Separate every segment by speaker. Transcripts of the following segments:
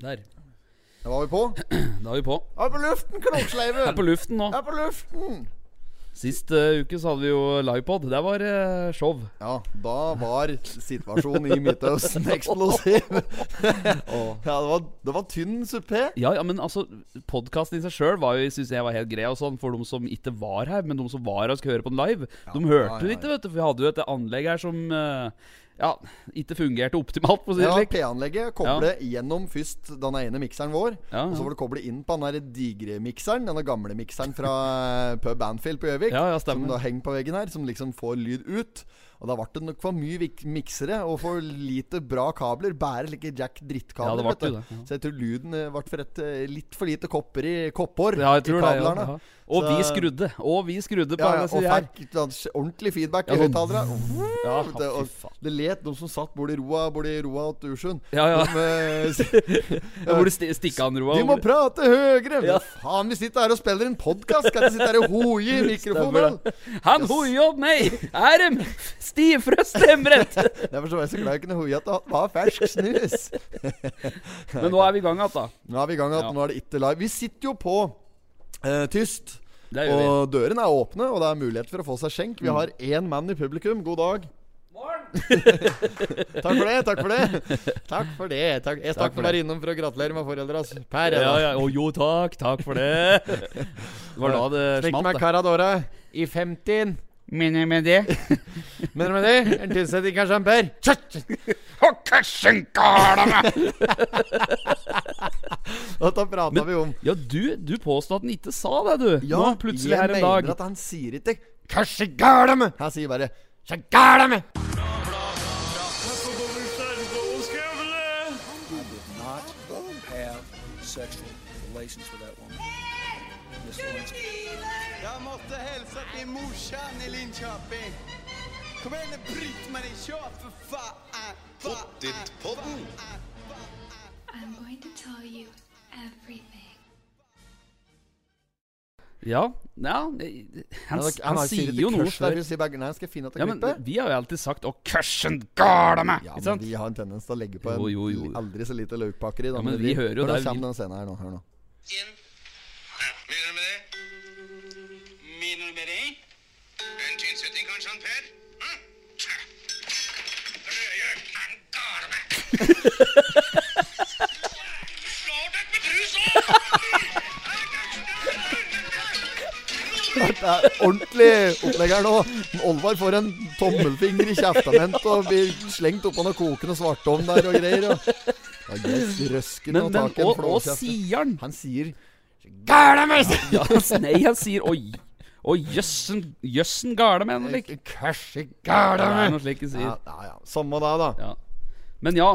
Speaker 1: Der.
Speaker 2: Da var vi på.
Speaker 1: Da er vi på.
Speaker 2: Jeg er på luften,
Speaker 1: Jeg er
Speaker 2: Kroksleiven!
Speaker 1: på luften nå.
Speaker 2: Jeg er på luften!
Speaker 1: Sist eh, uke så hadde vi jo livepod. Det var eh, show.
Speaker 2: Ja, da var situasjonen i Midtøsten eksplosiv. Ja, det var, det var tynn suppé.
Speaker 1: Ja, ja, men altså Podkasten i seg sjøl syns jeg var helt grei, og sånn for de som ikke var her. Men de som var her og skulle høre på den live, de hørte
Speaker 2: ja,
Speaker 1: det
Speaker 2: ja,
Speaker 1: ikke, vet du. For vi hadde jo et anlegg her som eh, ja, ikke fungerte optimalt, for å si det
Speaker 2: Ja,
Speaker 1: slik.
Speaker 2: P-anlegget koble gjennom først den ene mikseren vår.
Speaker 1: Ja,
Speaker 2: Og
Speaker 1: ja.
Speaker 2: så var det koble inn på den der digre mikseren. Denne gamle mikseren fra eh, pub Banfield på Gjøvik.
Speaker 1: Ja, ja,
Speaker 2: som
Speaker 1: stemmer.
Speaker 2: da henger på veggen her, som liksom får lyd ut. Og da ble det nok for mye vik- miksere og for lite bra kabler. Bare like
Speaker 1: Ja,
Speaker 2: Jack
Speaker 1: det
Speaker 2: drittkabler.
Speaker 1: ble
Speaker 2: vet du.
Speaker 1: jo det, ja.
Speaker 2: Så jeg tror lyden eh, ble for et, eh, litt for lite kopper i kopphår
Speaker 1: Ja, jeg
Speaker 2: i
Speaker 1: tror det. Ja,
Speaker 2: kablene.
Speaker 1: ja. Og
Speaker 2: Så-
Speaker 1: vi skrudde. Og vi skrudde på
Speaker 2: Ja, ja,
Speaker 1: alle
Speaker 2: og
Speaker 1: sider her.
Speaker 2: fikk da ordentlig feedback
Speaker 1: Ja,
Speaker 2: i
Speaker 1: sånn-
Speaker 2: høyttalerne.
Speaker 1: Ja,
Speaker 2: Vet du,
Speaker 1: fy
Speaker 2: og
Speaker 1: faen.
Speaker 2: Det let de som satt borti roa borti roa til Ursund.
Speaker 1: Ja, ja.
Speaker 2: De, eh, s-
Speaker 1: Hvor det sti- stikka an, Roa.
Speaker 2: de må
Speaker 1: hvor-
Speaker 2: prate høyere! Men
Speaker 1: Ja.
Speaker 2: faen, vi sitter her og spiller en podkast! Skal ikke sitte her og hoie i mikrofonen!
Speaker 1: Stemmer Han hoier opp meg! Er dem stivfrøst hjemmebrett?
Speaker 2: Derfor så var jeg så glad jeg kunne hoie at det var fersk snus.
Speaker 1: Men nå er vi i gang igjen, da.
Speaker 2: Nå er vi i gang igjen.
Speaker 1: Ja.
Speaker 2: Nå er det ikke live. Vi sitter jo på eh, tyst.
Speaker 1: Det gjør vi. Mm.
Speaker 2: Og dørene er åpne, og det er mulighet for å få seg skjenk. Vi har én mann i publikum. God dag. takk for det, takk for det. Takk for det. Takk. Jeg stakk
Speaker 1: for
Speaker 2: meg innom for å gratulere med foreldras Per.
Speaker 1: Ja, ja. Å jo, takk. Takk for det. Det var da det
Speaker 2: Fikk
Speaker 1: smalt.
Speaker 2: meg
Speaker 1: da.
Speaker 2: Caradora i 50
Speaker 1: Mener jeg med det?
Speaker 2: Mener du med det? En Tynset ikke er sjamper? Dette prata vi om.
Speaker 1: Ja, du, du påstod at den ikke sa det, du. Nå plutselig
Speaker 2: jeg
Speaker 1: her en
Speaker 2: mener
Speaker 1: dag.
Speaker 2: at han sier ikke 'Kasjegalame'. Han sier bare 'Sjegalame'.
Speaker 3: not have sexual relations with that woman. Miss Lewinsky.
Speaker 4: Jeg måtte hilse til morsan i Linköping. Kom igjen, Britt-Marie, kjør, for faen! Pottitpodden.
Speaker 5: I'm going to tell you everything.
Speaker 1: Ja, ja Han, han, sier jo noe
Speaker 2: før.
Speaker 1: før.
Speaker 2: Nei, skal jeg finne at
Speaker 1: Ja,
Speaker 2: jeg
Speaker 1: men
Speaker 2: klipper?
Speaker 1: vi har jo alltid sagt 'Å, kursen gala meg'! Ikke
Speaker 2: Ja, men
Speaker 1: sant?
Speaker 2: vi har en tendens til å legge på en
Speaker 1: Jo, jo, jo.
Speaker 2: aldri så lite løkpakkeri. da,
Speaker 1: Ja, men vi hører jo
Speaker 2: Hør, Nå
Speaker 1: det, vi-
Speaker 2: kommer den scenen her nå. Hør nå.
Speaker 4: Jim. Mener du med det? Mener du med det? En tynnsetting kanskje, han Per? Hm? Røye, han gale meg! Slå deg med trus òg!
Speaker 2: Det er ordentlig opplegg her nå. Olvar får en tommelfinger i kjeftament og blir slengt oppå noe kokende svartovn der og greier. Og. Ja, yes, røsken
Speaker 1: Men,
Speaker 2: og
Speaker 1: men
Speaker 2: taket
Speaker 1: og, og
Speaker 2: flåkjeften.
Speaker 1: sier han?
Speaker 2: Han sier
Speaker 1: Gala meg! Ja, altså, nei, han sier 'Oi'. Å, jøssen, jøssen gale meg, eller like.
Speaker 2: Kæsje gæla
Speaker 1: Det er
Speaker 2: meg!
Speaker 1: noe slik han
Speaker 2: Ja,
Speaker 1: sier.
Speaker 2: ja, ja. Samme det, da.
Speaker 1: Ja. Men ja,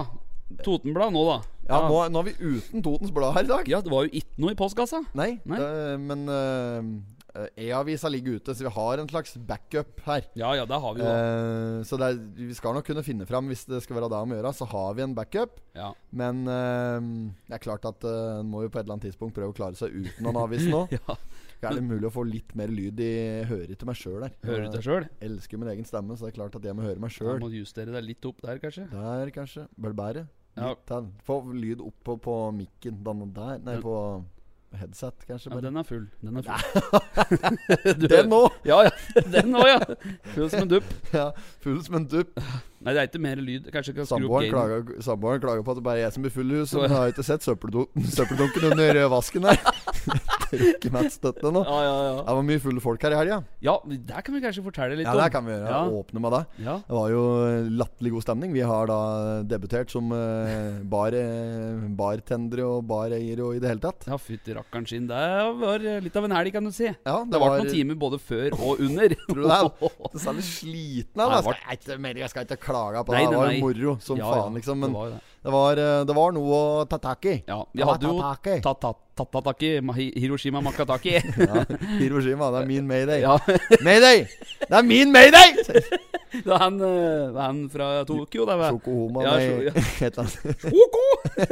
Speaker 1: Totenblad nå, da.
Speaker 2: Ja, nå, er- nå er vi uten Totens Blad her i dag.
Speaker 1: Ja, det var jo ikke noe i altså. postkassa.
Speaker 2: Nei,
Speaker 1: Nei.
Speaker 2: det- men eh, E-avisa ligger ute, så vi har en slags backup her.
Speaker 1: Ja, ja, det har vi jo. da.
Speaker 2: Eh, så det er, vi skal nok kunne finne fram hvis det skal være det om å gjøre. Så har vi en backup.
Speaker 1: Ja.
Speaker 2: Men eh, det er klart at eh, en må jo på et eller annet tidspunkt prøve å klare seg uten den avisen nå.
Speaker 1: ja.
Speaker 2: Er det mulig å få litt mer lyd i høret til meg sjøl der?
Speaker 1: Hører du
Speaker 2: Jeg
Speaker 1: deg sjøl?
Speaker 2: elsker jo min egen stemme, så det er klart at jeg må høre meg
Speaker 1: Du
Speaker 2: sjøl.
Speaker 1: må justere deg litt opp der, kanskje.
Speaker 2: Der, kanskje. Bør det bære?
Speaker 1: Ja.
Speaker 2: Litt her. Få lyd opp på, på mikken. Den der. Nei, på headset, kanskje.
Speaker 1: Ja,
Speaker 2: Bare.
Speaker 1: den er full. Den er full. Du-
Speaker 2: Den nå!
Speaker 1: Ja, ja. Den òg, ja. Full som en dupp.
Speaker 2: Ja, full som en dupp.
Speaker 1: Nei, det er ikke mer lyd. Kanskje jeg kan skru opp gamet.
Speaker 2: Samboeren klager, samboeren klager på at det bare er jeg som blir full i huset.
Speaker 1: Så-
Speaker 2: Men jeg har ikke sett søppeldun- søppeldunken under eh, vasken her. Trykker meg støtte nå.
Speaker 1: Ja, ja, ja.
Speaker 2: Det var mye fulle folk her i helga.
Speaker 1: Ja, der kan vi kanskje fortelle litt
Speaker 2: Ja,
Speaker 1: om.
Speaker 2: det kan vi gjøre.
Speaker 1: Ja.
Speaker 2: Åpne med det.
Speaker 1: Ja.
Speaker 2: Det var jo latterlig god stemning. Vi har da debutert som eh, bar, eh, bartendere og bareiere og i det hele tatt.
Speaker 1: Ja, fytti rakkeren sin. Det var eh, litt av en helg, kan du si. Det
Speaker 2: Ja,
Speaker 1: ble noen timer både før og under.
Speaker 2: Tror du det er det er særlig sliten av
Speaker 1: Nei, det
Speaker 2: det? Jeg skal ikke- mer- Jeg skal ikke klage på det.
Speaker 1: Nei,
Speaker 2: Det var
Speaker 1: nei,
Speaker 2: jo moro som
Speaker 1: Ja, ja,
Speaker 2: faen, liksom.
Speaker 1: det
Speaker 2: Men
Speaker 1: var jo det.
Speaker 2: det var, eh, det var noe å ta tak i.
Speaker 1: Ja, vi
Speaker 2: Det var
Speaker 1: hadde jo
Speaker 2: ta tak i.
Speaker 1: Tatataki, Hiroshima Makataki.
Speaker 2: Ja, Hiroshima, det er min mayday.
Speaker 1: Ja.
Speaker 2: Mayday! Det er min mayday!
Speaker 1: Det er han, eh, det er han fra Tokyo, det. er vel-
Speaker 2: Sjokohoma,
Speaker 1: Ja,
Speaker 2: nei,
Speaker 1: sjo- ja.
Speaker 2: et eller annet.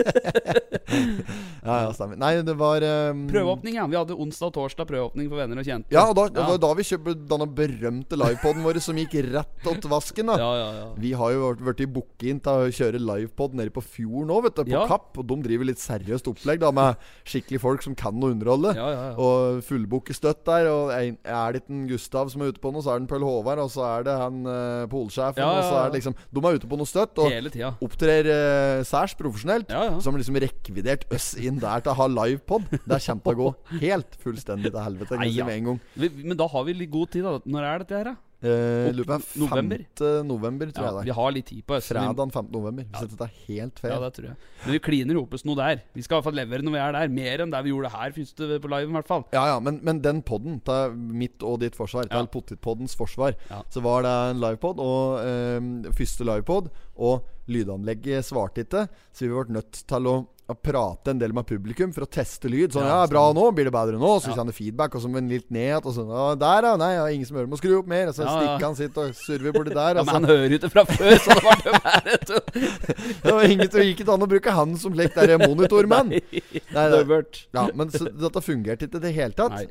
Speaker 1: Sjoko!
Speaker 2: Ja, ja, stemmer. Nei, det var um,
Speaker 1: Prøveåpning, ja. Vi hadde onsdag og torsdag prøveåpning for venner og kjente.
Speaker 2: Ja, og da, det
Speaker 1: ja.
Speaker 2: var da vi kjøpte denne berømte livepoden vår som gikk rett åt vasken. da
Speaker 1: ja, ja, ja.
Speaker 2: Vi har jo vært- vært i booking til å kjøre livepod nede på fjorden òg, vet du. På
Speaker 1: Ja.
Speaker 2: Kapp. Og de driver litt seriøst opplegg da med skikkelig folk som kan å underholde.
Speaker 1: Ja, ja, ja.
Speaker 2: Og fullbooke støtt der. Og en- er det ikke en Gustav som er ute på noe, så er det en Pøl Håvard, og så er det han eh, polsjefen,
Speaker 1: Ja,
Speaker 2: og så
Speaker 1: ja,
Speaker 2: er det liksom De er ute på noe støtt. Og
Speaker 1: Hele tida.
Speaker 2: opptrer eh, særs profesjonelt.
Speaker 1: Ja, ja.
Speaker 2: Som liksom rekvidert oss inn der til å ha livepod. Det kommer til å gå helt fullstendig til helvete kan
Speaker 1: Nei,
Speaker 2: jeg si
Speaker 1: ja.
Speaker 2: med en gang.
Speaker 1: Vi- Men da har vi litt god tid, da. Når er dette her, da?
Speaker 2: Eh, lurer på om det er
Speaker 1: November?
Speaker 2: 5. november, tror
Speaker 1: Ja,
Speaker 2: jeg det
Speaker 1: vi
Speaker 2: er.
Speaker 1: har litt tid på Østlandet.
Speaker 2: Fredag 15. november. Hvis dette er helt feil.
Speaker 1: Ja, det tror jeg. Men vi kliner hopes noe der. Vi skal i hvert fall levere når vi er der. Mer enn det vi gjorde her første på live, i hvert fall.
Speaker 2: Ja, ja, men, men den podden til mitt og ditt forsvar, til
Speaker 1: Ja.
Speaker 2: Pottitpoddens forsvar,
Speaker 1: Ja.
Speaker 2: så var det en livepod, og eh, første livepod, og lydanlegget svarte ikke, så vi ble nødt til å å prate en del med publikum for å teste lyd. Sånn, ja,
Speaker 1: Ja,
Speaker 2: bra nå, blir det bedre nå? Så kjenner feedback, og så vend litt ned igjen. Og sånn, ja, der, ja. Nei, ja, ingen som hører, må skru opp mer. Og
Speaker 1: Ja,
Speaker 2: så
Speaker 1: ja.
Speaker 2: stikker han sitt og surver borti der.
Speaker 1: Ja, men
Speaker 2: og så-
Speaker 1: han hører jo ikke fra før, så det var det verre. vet du.
Speaker 2: det var ingen som gikk ikke an å bruke han som slik der monitormann. Nei, det,
Speaker 1: Døvert.
Speaker 2: ja, men så, dette fungerte ikke i det hele
Speaker 1: Nei.
Speaker 2: tatt.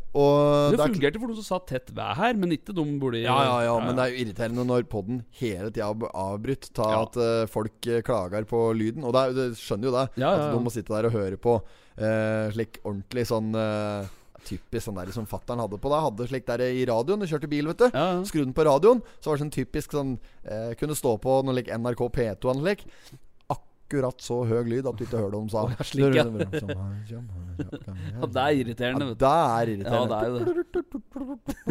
Speaker 1: Det
Speaker 2: Og er
Speaker 1: fungerte for noen som satt tett ved her, men ikke de burde
Speaker 2: Ja, ja, ja, men det er jo irriterende når podden hele tida er avbrutt av
Speaker 1: Ja.
Speaker 2: at eh, folk eh, klager på lyden. Og det, er, det skjønner jo det.
Speaker 1: Ja, ja,
Speaker 2: At
Speaker 1: ja.
Speaker 2: de må sitte der og høre på eh, slik ordentlig sånn eh, Typisk sånn der som fattern hadde på deg. Hadde slik der i radioen. Du kjørte bil, vet du.
Speaker 1: Ja, ja.
Speaker 2: Skru den på radioen, så var det sånn typisk sånn eh, Kunne stå på noe like NRK P2 eller slik. Akkurat så høy lyd at du ikke hører det de sa.
Speaker 1: ja, slik, ja.
Speaker 2: Sånn,
Speaker 1: Ja,
Speaker 2: ja.
Speaker 1: det er irriterende, vet du.
Speaker 2: Det
Speaker 1: Ja,
Speaker 2: er
Speaker 1: det
Speaker 2: irriterende.
Speaker 1: er jo det.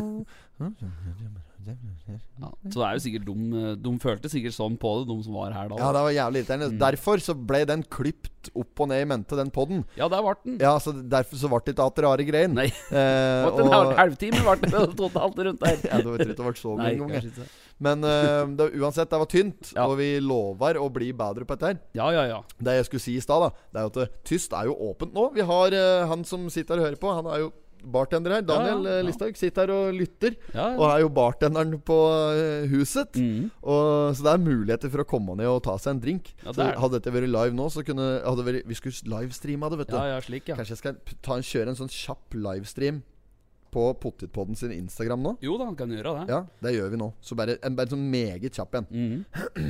Speaker 1: Ja, så det er jo sikkert de, de følte sikkert sånn på det, de som var her da.
Speaker 2: Ja, det var jævlig irriterende.
Speaker 1: Mm.
Speaker 2: Derfor så ble den klipt opp og ned i mente, den podden.
Speaker 1: Ja, der ble den.
Speaker 2: Ja, så derfor så ble det ikke at rare greien.
Speaker 1: Nei.
Speaker 2: Eh,
Speaker 1: Det ble
Speaker 2: og,
Speaker 1: en halv- halvtime ble det totalt rundt der.
Speaker 2: ja, det var ikke det ble så mye
Speaker 1: Nei,
Speaker 2: en gang. jeg.
Speaker 1: kanskje ikke.
Speaker 2: Men eh, det, uansett, det var tynt,
Speaker 1: Ja.
Speaker 2: og vi lover å bli bedre på dette her.
Speaker 1: Ja, ja, ja.
Speaker 2: Det jeg skulle si i stad, da, det er jo at det, tyst er jo åpent nå. Vi har eh, han som sitter her og hører på, han er jo bartender her. Daniel
Speaker 1: ja,
Speaker 2: eh,
Speaker 1: ja.
Speaker 2: Listhaug sitter her og lytter,
Speaker 1: Ja, ja.
Speaker 2: og er jo bartenderen på eh, huset.
Speaker 1: Mhm.
Speaker 2: Og, så det er muligheter for å komme ned og ta seg en drink.
Speaker 1: Ja, det
Speaker 2: så
Speaker 1: er det.
Speaker 2: hadde dette vært live nå, så kunne hadde vært, Vi skulle livestreama det, vet du.
Speaker 1: Ja, ja, slik, ja.
Speaker 2: Kanskje jeg skal p- ta en, kjøre en sånn kjapp livestream på Pottitpodden sin Instagram nå?
Speaker 1: Jo da, han kan gjøre det.
Speaker 2: Ja, det gjør vi nå. Så bare en, bare en sånn meget kjapp en.
Speaker 1: Mhm.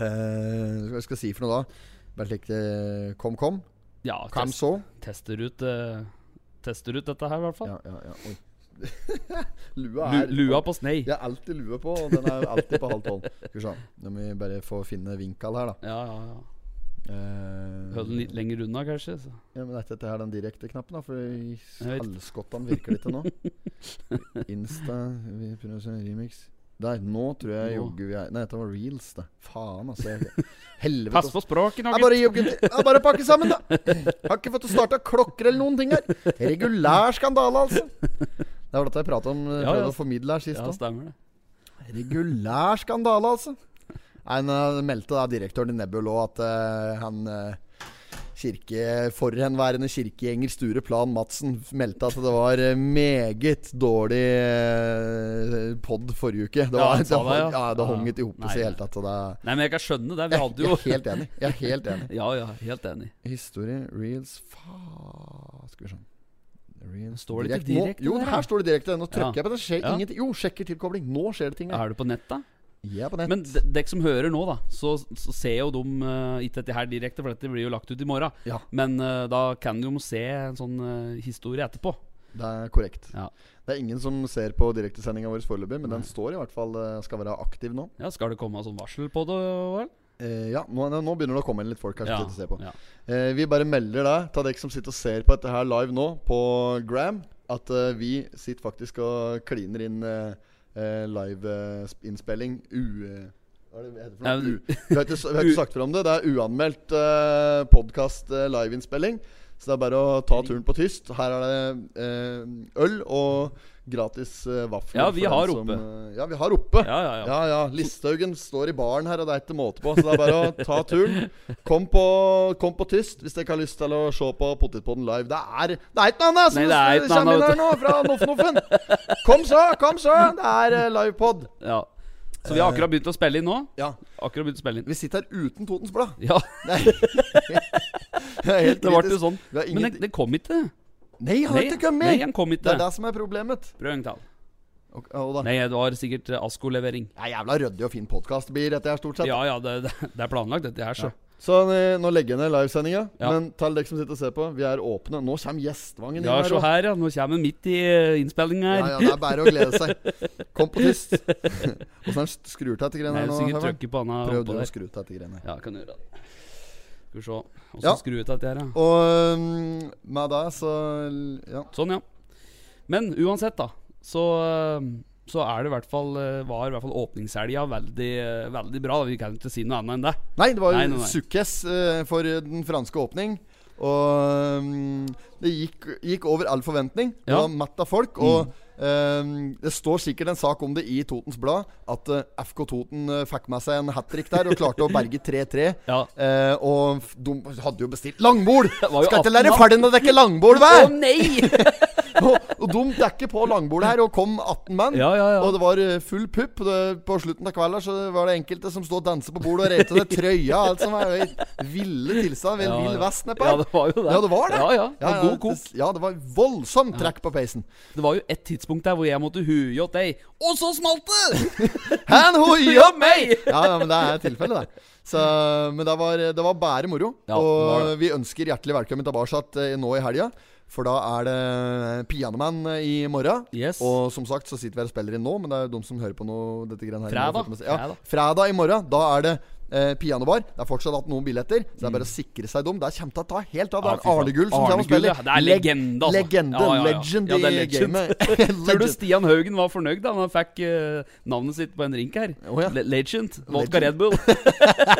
Speaker 2: Eh, hva skal jeg si for noe da? Bare slik eh, Kom, kom.
Speaker 1: Ja,
Speaker 2: Kom
Speaker 1: test,
Speaker 2: så.
Speaker 1: tester ut eh, Tester ut dette her, i hvert fall.
Speaker 2: Ja, ja, ja. Oi. lua
Speaker 1: Lu,
Speaker 2: er
Speaker 1: lua på snei.
Speaker 2: Jeg har alltid lue på, og den er alltid på halv tolv. Skal vi se. Nå må vi bare få finne vinkel her, da.
Speaker 1: Ja, ja, ja.
Speaker 2: Eh,
Speaker 1: Hører den litt lenger unna, kanskje. Så.
Speaker 2: Ja, men er ikke dette her den direkte knappen, da? For i
Speaker 1: Jeg vet.
Speaker 2: halvskottene virker det ikke nå. Insta Vi prøver å se remix. Der, nå tror jeg
Speaker 1: Nå.
Speaker 2: jogger vi er Nei, dette var reels, det. Faen, altså. Jeg, helvete.
Speaker 1: Pass
Speaker 2: altså.
Speaker 1: på språket,
Speaker 2: Jeg
Speaker 1: Nugget.
Speaker 2: bare, gir opp, gutter. Jeg bare pakker sammen, da. Har ikke fått starta klokker eller noen ting her. Regulær skandale, altså. Det var dette jeg prata om, eh,
Speaker 1: Ja,
Speaker 2: prøvde
Speaker 1: ja.
Speaker 2: å formidle her sist.
Speaker 1: Ja,
Speaker 2: da.
Speaker 1: stemmer det.
Speaker 2: Regulær skandale, altså. Nei, nå meldte da direktøren i Nebbul òg at eh, han eh, kirke, forhenværende kirkegjenger Sture Plan Madsen meldte at det var eh, meget dårlig uh, pod forrige uke. Det,
Speaker 1: Ja,
Speaker 2: var,
Speaker 1: han
Speaker 2: det,
Speaker 1: sa det,
Speaker 2: hang-
Speaker 1: ja.
Speaker 2: ja. det hang
Speaker 1: Ja.
Speaker 2: ikke i hop i
Speaker 1: Nei,
Speaker 2: det
Speaker 1: nei.
Speaker 2: hele tatt. og det-
Speaker 1: Nei, men jeg kan skjønne det. Vi hadde
Speaker 2: Jeg
Speaker 1: jo
Speaker 2: er helt enig. Jeg er helt enig.
Speaker 1: Ja, ja, helt enig.
Speaker 2: Historie, reels Faen Skal vi se. Reels.
Speaker 1: Står det ikke
Speaker 2: Nå-
Speaker 1: direkte
Speaker 2: Jo,
Speaker 1: der,
Speaker 2: her
Speaker 1: da?
Speaker 2: står det direkte. Nå trykker
Speaker 1: Ja.
Speaker 2: jeg på det. Skjer
Speaker 1: Ja.
Speaker 2: ingenting. Jo, sjekker tilkobling. Nå skjer det ting.
Speaker 1: Er
Speaker 2: her.
Speaker 1: du på nett, da?
Speaker 2: Jeg er på nett.
Speaker 1: Men de- dere som hører nå, da, så, så ser jo de eh, ikke dette her direkte, for dette blir jo lagt ut i morgen.
Speaker 2: Ja.
Speaker 1: Men eh, da kan de jo se en sånn eh, historie etterpå.
Speaker 2: Det er korrekt.
Speaker 1: Ja.
Speaker 2: Det er ingen som ser på direktesendinga vår foreløpig, men den står i hvert fall eh, skal være aktiv nå.
Speaker 1: Ja, Skal det komme sånn varsel på det, vel?
Speaker 2: Eh, ja, nå, nå begynner det å komme inn litt folk her som
Speaker 1: Ja,
Speaker 2: sitter og ser på.
Speaker 1: ja.
Speaker 2: Eh, vi bare melder deg, til dere som sitter og ser på dette her live nå på Gram, at eh, vi sitter faktisk og kliner inn eh, eh, liveinnspilling u... eh, Hva er det det heter for
Speaker 1: Nei,
Speaker 2: noe?
Speaker 1: men-
Speaker 2: U, vi har ikke, vi har ikke sagt fra om det. Det er uanmeldt eh, podkast eh, liveinnspilling. Så det er bare å ta turen på tyst. Her er det eh, øl og gratis eh, vafler.
Speaker 1: Ja, vi
Speaker 2: for den
Speaker 1: har
Speaker 2: som,
Speaker 1: oppe.
Speaker 2: eh, ja, vi har oppe.
Speaker 1: Ja, ja, ja.
Speaker 2: Ja, ja. Listhaugen står i baren her, og det er ikke måte på. Så det er bare å ta turen. Kom på, kom på tyst hvis dere ikke har lyst til å se på Potetpodden live. Det er Det er ikke noe annet
Speaker 1: Nei, det er ikke
Speaker 2: som
Speaker 1: noe
Speaker 2: kommer inn
Speaker 1: annet,
Speaker 2: her nå, fra Noffnoffen. Kom så, kom så! Det er eh, livepod.
Speaker 1: Ja. Så vi har akkurat begynt å spille inn nå.
Speaker 2: Ja.
Speaker 1: Akkurat begynt å spille inn
Speaker 2: Vi sitter her uten Totens Blad.
Speaker 1: Ja,
Speaker 2: Det er helt
Speaker 1: det ble jo
Speaker 2: kritisk.
Speaker 1: sånn.
Speaker 2: Vi har
Speaker 1: Men
Speaker 2: ingen...
Speaker 1: det, det kom ikke.
Speaker 2: Nei, han har
Speaker 1: Nei,
Speaker 2: ikke kommet!
Speaker 1: nei, han kom ikke.
Speaker 2: Det er det som er problemet.
Speaker 1: Prøv en gang til.
Speaker 2: Og, og da.
Speaker 1: Nei, det var sikkert eh, Asko-levering.
Speaker 2: Det er jævla ryddig og fin podkast blir dette her, stort sett.
Speaker 1: Ja ja, det, det, det er planlagt, dette her, så.
Speaker 2: Så eh, nå legger jeg ned livesendinga.
Speaker 1: Ja.
Speaker 2: Men til dere som sitter og ser på, vi er åpne. Nå kommer gjestvangen
Speaker 1: Ja, se
Speaker 2: også.
Speaker 1: her, ja. Nå kommer han midt i eh, innspillinga
Speaker 2: Ja,
Speaker 1: her.
Speaker 2: ja, det er bare å glede seg. Kom på tyst. Åssen skrur til dette greiene
Speaker 1: Nei,
Speaker 2: her nå?
Speaker 1: sikkert
Speaker 2: Herman?
Speaker 1: trykker på han her
Speaker 2: Prøv du
Speaker 1: oppå
Speaker 2: å
Speaker 1: der.
Speaker 2: skru til dette greiene. her.
Speaker 1: Ja, kan du gjøre det. Skal vi se. Åssen
Speaker 2: Ja.
Speaker 1: skru ut dette her, da?
Speaker 2: Og mm, med det, så Ja.
Speaker 1: Sånn, ja. Men uansett, da, så eh, så er det i hvert fall eh, var i hvert fall åpningshelga veldig, eh, veldig bra. da. Vi kan ikke si noe annet enn det.
Speaker 2: Nei, det var
Speaker 1: Nei, nei,
Speaker 2: jo
Speaker 1: nei.
Speaker 2: sukkes eh, for den franske åpning. Og mm, det gikk, gikk over all forventning. Det
Speaker 1: Ja. Mm.
Speaker 2: var mett av folk. Og eh, det står sikkert en sak om det i Totens Blad, at eh, FK Toten eh, fikk med seg en hat trick der og klarte å berge 3-3.
Speaker 1: Ja.
Speaker 2: Eh, og f- de hadde jo bestilt langbord!
Speaker 1: var jo
Speaker 2: Skal ikke
Speaker 1: 18
Speaker 2: lære
Speaker 1: mann.
Speaker 2: ferdig å dekke langbord, hver!
Speaker 1: nei!
Speaker 2: og, og de dekker på langbordet her, og kom 18 mann.
Speaker 1: ja, ja, ja.
Speaker 2: Og det var eh, full pupp. og det- På slutten av kvelden så var det enkelte som stod og danset på bordet og reiste ned trøya. Alt som var i ville tilstand. Ved en
Speaker 1: Ja,
Speaker 2: vill
Speaker 1: ja.
Speaker 2: vest nedpå.
Speaker 1: Ja, det var jo det.
Speaker 2: Ja, det var det.
Speaker 1: Ja, ja. Det var god kok.
Speaker 2: det- Ja, det var voldsomt trekk på peisen.
Speaker 1: Det var jo et tidspunkt der hvor jeg måtte huie åt deg, og så smalt det!
Speaker 2: Han hoia!
Speaker 1: Ja, meg!
Speaker 2: Ja, ja, men det er tilfellet, det. Så, men det var, det var bare moro.
Speaker 1: Ja,
Speaker 2: og
Speaker 1: det var det.
Speaker 2: vi ønsker hjertelig velkommen tilbake eh, nå i helga. For da er det eh, Pianoman i morgen.
Speaker 1: Yes.
Speaker 2: Og som sagt så sitter vi her og spiller inn nå, men det er jo de som hører på noe dette greiene her.
Speaker 1: Fredag.
Speaker 2: Ja,
Speaker 1: Fredag.
Speaker 2: fredag i morgen. Da er det eh, pianobar. Det er fortsatt hatt noen billetter, så det er bare å sikre seg dem. Det kommer til å ta helt av. Det
Speaker 1: Mm. Ja, fy faen.
Speaker 2: er Arne Gull som
Speaker 1: Arne
Speaker 2: kommer og
Speaker 1: Gull,
Speaker 2: spiller.
Speaker 1: ja. Det er
Speaker 2: Leg-
Speaker 1: legende, altså. Ja,
Speaker 2: Legende.
Speaker 1: ja, ja. Ja,
Speaker 2: Legend
Speaker 1: det er
Speaker 2: i
Speaker 1: legend.
Speaker 2: gamet.
Speaker 1: Tror du
Speaker 2: legend.
Speaker 1: Stian Haugen var fornøyd da han fikk eh, navnet sitt på en drink her?
Speaker 2: Å, ja.
Speaker 1: Le Legend. Vodka
Speaker 2: Legend.
Speaker 1: Red Bull.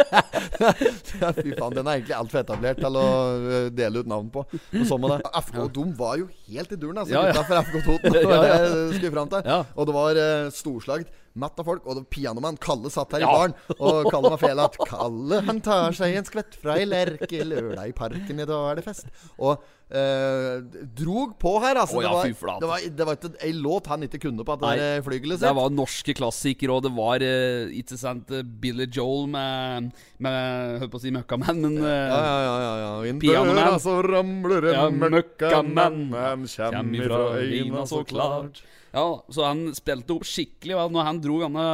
Speaker 2: Ja, fy faen, den er egentlig altfor etablert til å øh, dele ut navn på. Og sånn med det. FK Dom var jo helt i duren, altså.
Speaker 1: Ja, ja.
Speaker 2: Gutta fra FK Toten. Det
Speaker 1: Ja,
Speaker 2: var det
Speaker 1: ja.
Speaker 2: jeg skulle fram til.
Speaker 1: Ja.
Speaker 2: Og det var uh, storslagt. Matt av folk, og det var pianomann Kalle satt her
Speaker 1: Ja.
Speaker 2: i baren. Og Kalle var felat. Kalle han tar seg en skvett fra ei lerke lørdag i parken, i dag er det fest. Og øh, drog på her, altså.
Speaker 1: Å, ja, fy
Speaker 2: det, var,
Speaker 1: flate.
Speaker 2: det, var, det var ikke ei låt han ikke kunne på at det
Speaker 1: Nei.
Speaker 2: der øh, flygelet
Speaker 1: Det
Speaker 2: sitt.
Speaker 1: var norske klassikere, og det var eh, ikke sant eh, Billy Joel med, med Holdt på å si Møkkamann, men eh,
Speaker 2: Ja, ja, ja, ja, ja. Inn
Speaker 1: Pianoman.
Speaker 2: døra så altså, ramler
Speaker 1: Ja,
Speaker 2: en møkkamann.
Speaker 1: møkkamann.
Speaker 2: Han kjem
Speaker 1: Kjem
Speaker 2: ifra
Speaker 1: ifra
Speaker 2: øyna
Speaker 1: øyna
Speaker 2: så
Speaker 1: så
Speaker 2: klart.
Speaker 1: ja, så han spilte opp skikkelig vel, når han dro denne,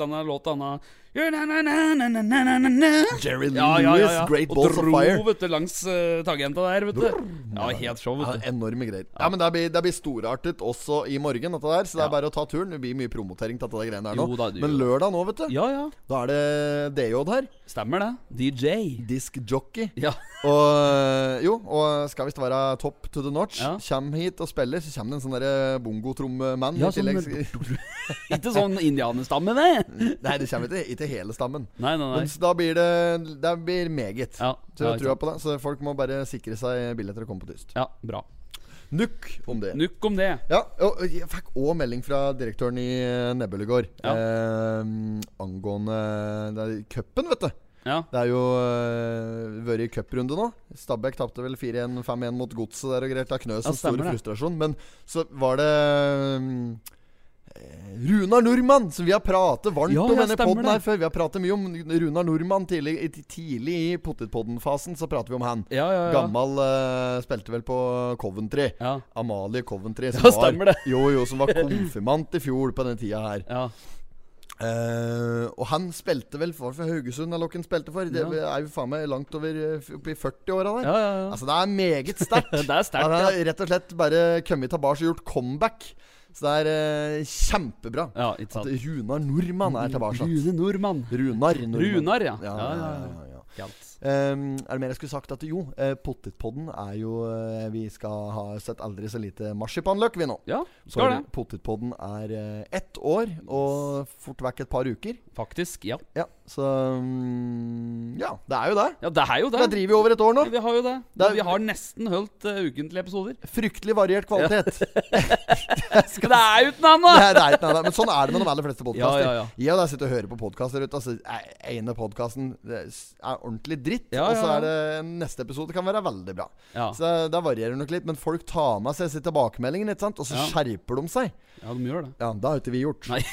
Speaker 1: denne låta. Denne
Speaker 2: Jerry Lewis,
Speaker 1: Ja, ja, ja, ja.
Speaker 2: Great
Speaker 1: Og
Speaker 2: Balls of
Speaker 1: dro,
Speaker 2: Fire.
Speaker 1: vet du, langs eh, taggenda der, vet du. Ja, helt show,
Speaker 2: Ja,
Speaker 1: vet du.
Speaker 2: enorme greier. Ja, men det blir, det blir storartet også i morgen, dette der. Så det
Speaker 1: Ja.
Speaker 2: er bare å ta turen. Det blir mye promotering til dette greiene der nå.
Speaker 1: Jo da, det
Speaker 2: men
Speaker 1: gjør
Speaker 2: lørdag nå, vet du,
Speaker 1: Ja, ja.
Speaker 2: da er det DJ her.
Speaker 1: Stemmer det. DJ.
Speaker 2: Disk jockey.
Speaker 1: Ja.
Speaker 2: Og eh, jo, og skal visst være top to the notch.
Speaker 1: Ja.
Speaker 2: Kjem hit og spiller, så kommer det en sånn derre bongotrommemann.
Speaker 1: Ja,
Speaker 2: i
Speaker 1: sånn-
Speaker 2: tillegg.
Speaker 1: Ikke sånn indianerstamme, det.
Speaker 2: Nei, det kommer ikke, ikke hele stammen.
Speaker 1: Nei, nei, nei.
Speaker 2: Men så da blir det Det blir meget.
Speaker 1: Ja,
Speaker 2: Så
Speaker 1: ja,
Speaker 2: jeg
Speaker 1: ikke
Speaker 2: tror
Speaker 1: sant.
Speaker 2: på det. Så folk må bare sikre seg billetter og komme på tyst.
Speaker 1: ja, bra.
Speaker 2: Nukk om det.
Speaker 1: Nukk om det.
Speaker 2: Ja, og jeg fikk òg melding fra direktøren i eh, Nebbelet i går.
Speaker 1: Ja.
Speaker 2: Eh, angående det er cupen, vet du.
Speaker 1: Ja.
Speaker 2: Det er jo eh, vært i cuprunde nå. Stabæk tapte vel 4-1, 5-1 mot Godset der og greit. Da knøs
Speaker 1: Ja,
Speaker 2: en stor
Speaker 1: stemmer det.
Speaker 2: frustrasjon. Men så var det mm, eh, Runar Nordmann, som vi har pratet varmt
Speaker 1: Ja,
Speaker 2: om
Speaker 1: ja,
Speaker 2: denne
Speaker 1: stemmer
Speaker 2: podden
Speaker 1: det.
Speaker 2: her før. Vi har pratet mye om Runar Nordmann tidlig, i- tidlig i potetpodden-fasen. Så prater vi om han.
Speaker 1: Ja, ja, ja.
Speaker 2: Gammal eh, spilte vel på Coventry.
Speaker 1: Ja.
Speaker 2: Amalie Coventry, som,
Speaker 1: Ja, stemmer
Speaker 2: var,
Speaker 1: det.
Speaker 2: jo, jo, som var konfirmant i fjor på den tida her.
Speaker 1: ja.
Speaker 2: Eh, og han spilte vel for, for Haugesund, eller hvem han spilte for. Det
Speaker 1: Ja.
Speaker 2: er jo faen meg langt over eh, f- opp i 40-åra der.
Speaker 1: Ja, ja, ja.
Speaker 2: Altså, det er meget sterkt.
Speaker 1: Det er sterkt,
Speaker 2: Han har
Speaker 1: ja.
Speaker 2: rett og slett bare kommet tilbake og gjort comeback. Så det er eh, kjempebra
Speaker 1: ja ikke
Speaker 2: at
Speaker 1: sant.
Speaker 2: Runar Nordmann er tilbake. altså.
Speaker 1: Rune Nordmann.
Speaker 2: Runar. Nordmann.
Speaker 1: Runar, ja.
Speaker 2: Ja, ja, ja, ja.
Speaker 1: Galt.
Speaker 2: Ehm, er det mer jeg skulle sagt? At jo, uh, potetpodden er jo eh, Vi skal ha sett aldri så lite marsipanløk, vi nå.
Speaker 1: Ja,
Speaker 2: For
Speaker 1: skal det.
Speaker 2: potetpodden er eh, ett år og fort vekk et par uker.
Speaker 1: Faktisk. Ja.
Speaker 2: Ja, så mm, Ja, det er jo det.
Speaker 1: Ja, det er jo
Speaker 2: Det
Speaker 1: det.
Speaker 2: driver vi over et år nå.
Speaker 1: Vi har jo det.
Speaker 2: Det er-
Speaker 1: Vi har nesten holdt eh, ukentlige episoder.
Speaker 2: Fryktelig variert kvalitet.
Speaker 1: Men det er uten annet!
Speaker 2: Nei, det er ikke noe annet. Men sånn er det med de aller fleste podkaster.
Speaker 1: Ja, ja, ja.
Speaker 2: Jeg og deg sitter og hører på podkaster ute. Altså, e- ene podkasten er ordentlig dritt,
Speaker 1: Ja,
Speaker 2: og så
Speaker 1: ja, ja.
Speaker 2: er det neste episode kan være veldig bra.
Speaker 1: Ja.
Speaker 2: Så det- det varierer nok litt. Men folk tar med seg disse tilbakemeldingene, ikke sant? og så
Speaker 1: Ja.
Speaker 2: skjerper de seg.
Speaker 1: Ja, de gjør det.
Speaker 2: Ja, det har jo ikke vi gjort.
Speaker 1: Nei.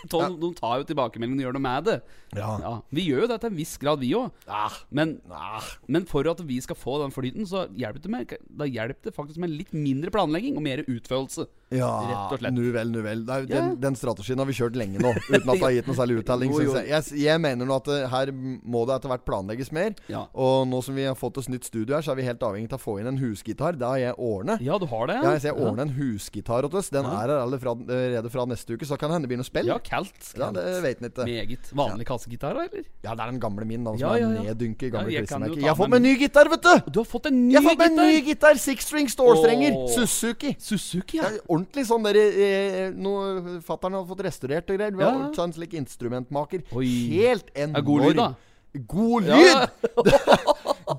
Speaker 1: Tom, De tar jo tilbakemeldingene og gjør noe med det.
Speaker 2: Ja.
Speaker 1: Ja, Vi gjør jo det til en viss grad, vi òg.
Speaker 2: Ah,
Speaker 1: Men,
Speaker 2: ah.
Speaker 1: men for at vi skal få den flyten, så hjelper det, med, da hjelper det faktisk med litt mindre planlegging og mer utførelse.
Speaker 2: Ja,
Speaker 1: Rett og slett.
Speaker 2: nu vel, nu vel. Det er,
Speaker 1: Ja.
Speaker 2: den, den strategien har vi kjørt lenge nå, uten at det har gitt noe særlig uttelling.
Speaker 1: Jo,
Speaker 2: synes
Speaker 1: jo.
Speaker 2: Jeg. Jeg, s- jeg mener nå at eh, her må det etter hvert planlegges mer.
Speaker 1: Ja.
Speaker 2: Og nå som vi har fått oss nytt studio her, så er vi helt avhengig av å få inn en husgitar. Det har jeg ordnet.
Speaker 1: Ja, du har det?
Speaker 2: Ja, så jeg ordner en husgitar åt oss. Den er her allerede fra, allerede fra neste uke, så kan det hende det blir noe spill.
Speaker 1: Ja, kaldt.
Speaker 2: Ja, det vet en ikke.
Speaker 1: Meget. Vanlig kassegitar, eller?
Speaker 2: Ja, det er den gamle min, da, som
Speaker 1: Ja, ja, ja.
Speaker 2: er neddynket i gamle
Speaker 1: Ja,
Speaker 2: ja,
Speaker 1: jeg kan jo ta
Speaker 2: Jeg har fått
Speaker 1: med
Speaker 2: meg ny gitar, vet du!
Speaker 1: Du har fått en ny
Speaker 2: Jeg har fått meg en
Speaker 1: gitar!
Speaker 2: ny gitar! Six string stålstrenger.
Speaker 1: Åh.
Speaker 2: Suzuki.
Speaker 1: Suzuki,
Speaker 2: Ja,
Speaker 1: ja.
Speaker 2: ordentlig sånn der eh, noe Fattern har fått restaurert og greier. Vi
Speaker 1: Ja.
Speaker 2: har ordentlig sånn slik instrumentmaker.
Speaker 1: Oi.
Speaker 2: Helt enorm.
Speaker 1: Ja, god lyd, da.
Speaker 2: God
Speaker 1: Ja.
Speaker 2: lyd!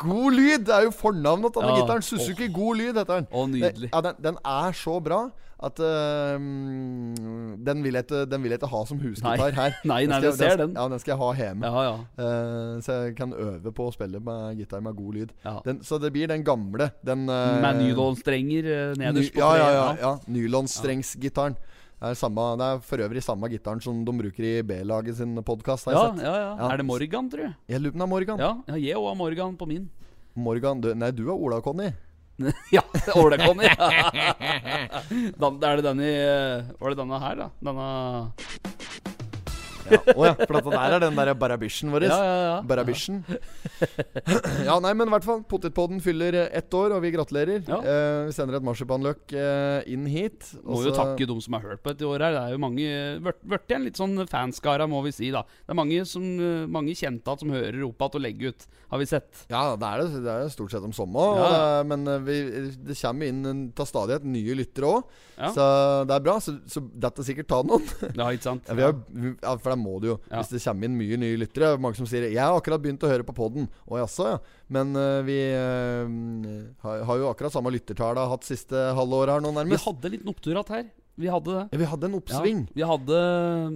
Speaker 2: God lyd! Det er jo fornavnet til denne
Speaker 1: Ja.
Speaker 2: gitaren. Suzuki God lyd heter den.
Speaker 1: Å, nydelig.
Speaker 2: Ja, den, den er så bra at eh, mm, den, vil jeg ikke, den vil jeg ikke ha som
Speaker 1: Nei.
Speaker 2: husgitar her.
Speaker 1: Nei, nei,
Speaker 2: skal jeg-
Speaker 1: jeg ser den.
Speaker 2: Ja, den skal jeg ha hjemme.
Speaker 1: Ja, ja.
Speaker 2: Eh, så jeg kan øve på å spille med gitar med god lyd.
Speaker 1: Ja.
Speaker 2: Den, så det blir den gamle. Den eh,
Speaker 1: Med nylonstrenger eh,
Speaker 2: Ny,
Speaker 1: nederst på
Speaker 2: ja,
Speaker 1: treet.
Speaker 2: ja, ja, ja. Nylonstrengsgitaren. Det er, samme, det er for øvrig samme gitaren som de bruker i B-laget sin podkast.
Speaker 1: Ja, ja, ja.
Speaker 2: Ja.
Speaker 1: Er det Morgan, tror du?
Speaker 2: Jeg lurer på om det er Morgan.
Speaker 1: Ja, ja jeg òg har Morgan på min.
Speaker 2: Morgan, du, nei, du er Ola Conny.
Speaker 1: ja, Ålekonny. er det denne i, eh, Var det denne her, da? Denne
Speaker 2: Ja, å ja, for at det der er den der barabysjen vår.
Speaker 1: Ja, ja, ja.
Speaker 2: Barabysjen. ja, nei, men i hvert fall. Potetpodden fyller eh, ett år, og vi gratulerer.
Speaker 1: Ja.
Speaker 2: Eh, vi sender et marsipanløk eh, inn hit.
Speaker 1: Må
Speaker 2: og
Speaker 1: jo
Speaker 2: så-
Speaker 1: takke de som har hørt på dette året her. Det er jo mange eh, vært- Vært igjen litt sånn fanskara, må vi si, da. Det er mange, som, eh, mange kjente at som hører opp igjen og legger ut, har vi sett.
Speaker 2: Ja, det er det. Det er jo stort sett om
Speaker 1: Ja.
Speaker 2: sommeren. Og det er, men eh, vi, det kommer inn en- til stadighet nye lyttere òg,
Speaker 1: Ja.
Speaker 2: så det er bra. Så, så dette sikkert ta noen.
Speaker 1: Ja, ikke sant?
Speaker 2: Ja, vi har, vi- ja, for det må du jo.
Speaker 1: Ja.
Speaker 2: Hvis det kommer inn mye nye lyttere. Mange som sier 'Jeg har akkurat begynt å høre på poden'. Å jaså, ja. Men eh, vi eh, har, har jo akkurat samme lyttertall har hatt siste halvåret her nå,
Speaker 1: Vi
Speaker 2: nærmest.
Speaker 1: hadde en liten opptur igjen her. Vi hadde det.
Speaker 2: Ja, vi hadde en oppsving.
Speaker 1: Ja, vi hadde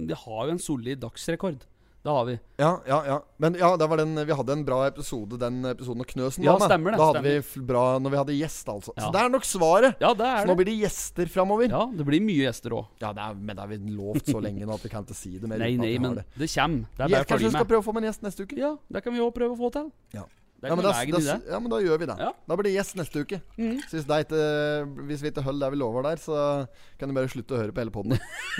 Speaker 1: Vi har jo en solid dagsrekord. Det har vi.
Speaker 2: Ja, ja, ja. Men ja, det var den, vi hadde en bra episode, den episoden av Knøsen.
Speaker 1: Ja,
Speaker 2: var med.
Speaker 1: stemmer det,
Speaker 2: Da hadde vi f- bra når vi hadde gjest, altså.
Speaker 1: Ja.
Speaker 2: Så det er nok svaret.
Speaker 1: Ja, det
Speaker 2: Så
Speaker 1: er
Speaker 2: nå
Speaker 1: det.
Speaker 2: blir det gjester framover.
Speaker 1: Ja, det blir mye gjester òg.
Speaker 2: Ja, det er, men det har vi lovt så lenge nå at vi kan ikke si det mer.
Speaker 1: Nei,
Speaker 2: uten at
Speaker 1: nei,
Speaker 2: vi har
Speaker 1: men
Speaker 2: det.
Speaker 1: det kommer. Det er bare
Speaker 2: Jeg,
Speaker 1: å
Speaker 2: Kanskje
Speaker 1: følge
Speaker 2: vi skal
Speaker 1: med.
Speaker 2: prøve å få med en gjest neste uke?
Speaker 1: Ja, det kan vi òg prøve å få til.
Speaker 2: Ja.
Speaker 1: Det er
Speaker 2: Ja,
Speaker 1: ikke
Speaker 2: men
Speaker 1: noe
Speaker 2: da,
Speaker 1: veien i
Speaker 2: da,
Speaker 1: det.
Speaker 2: ja, men da gjør vi det.
Speaker 1: Ja.
Speaker 2: Da blir det gjest neste uke. Så hvis, det er ikke, hvis vi ikke holder der vi lover der, så kan du bare slutte å høre på hele poden.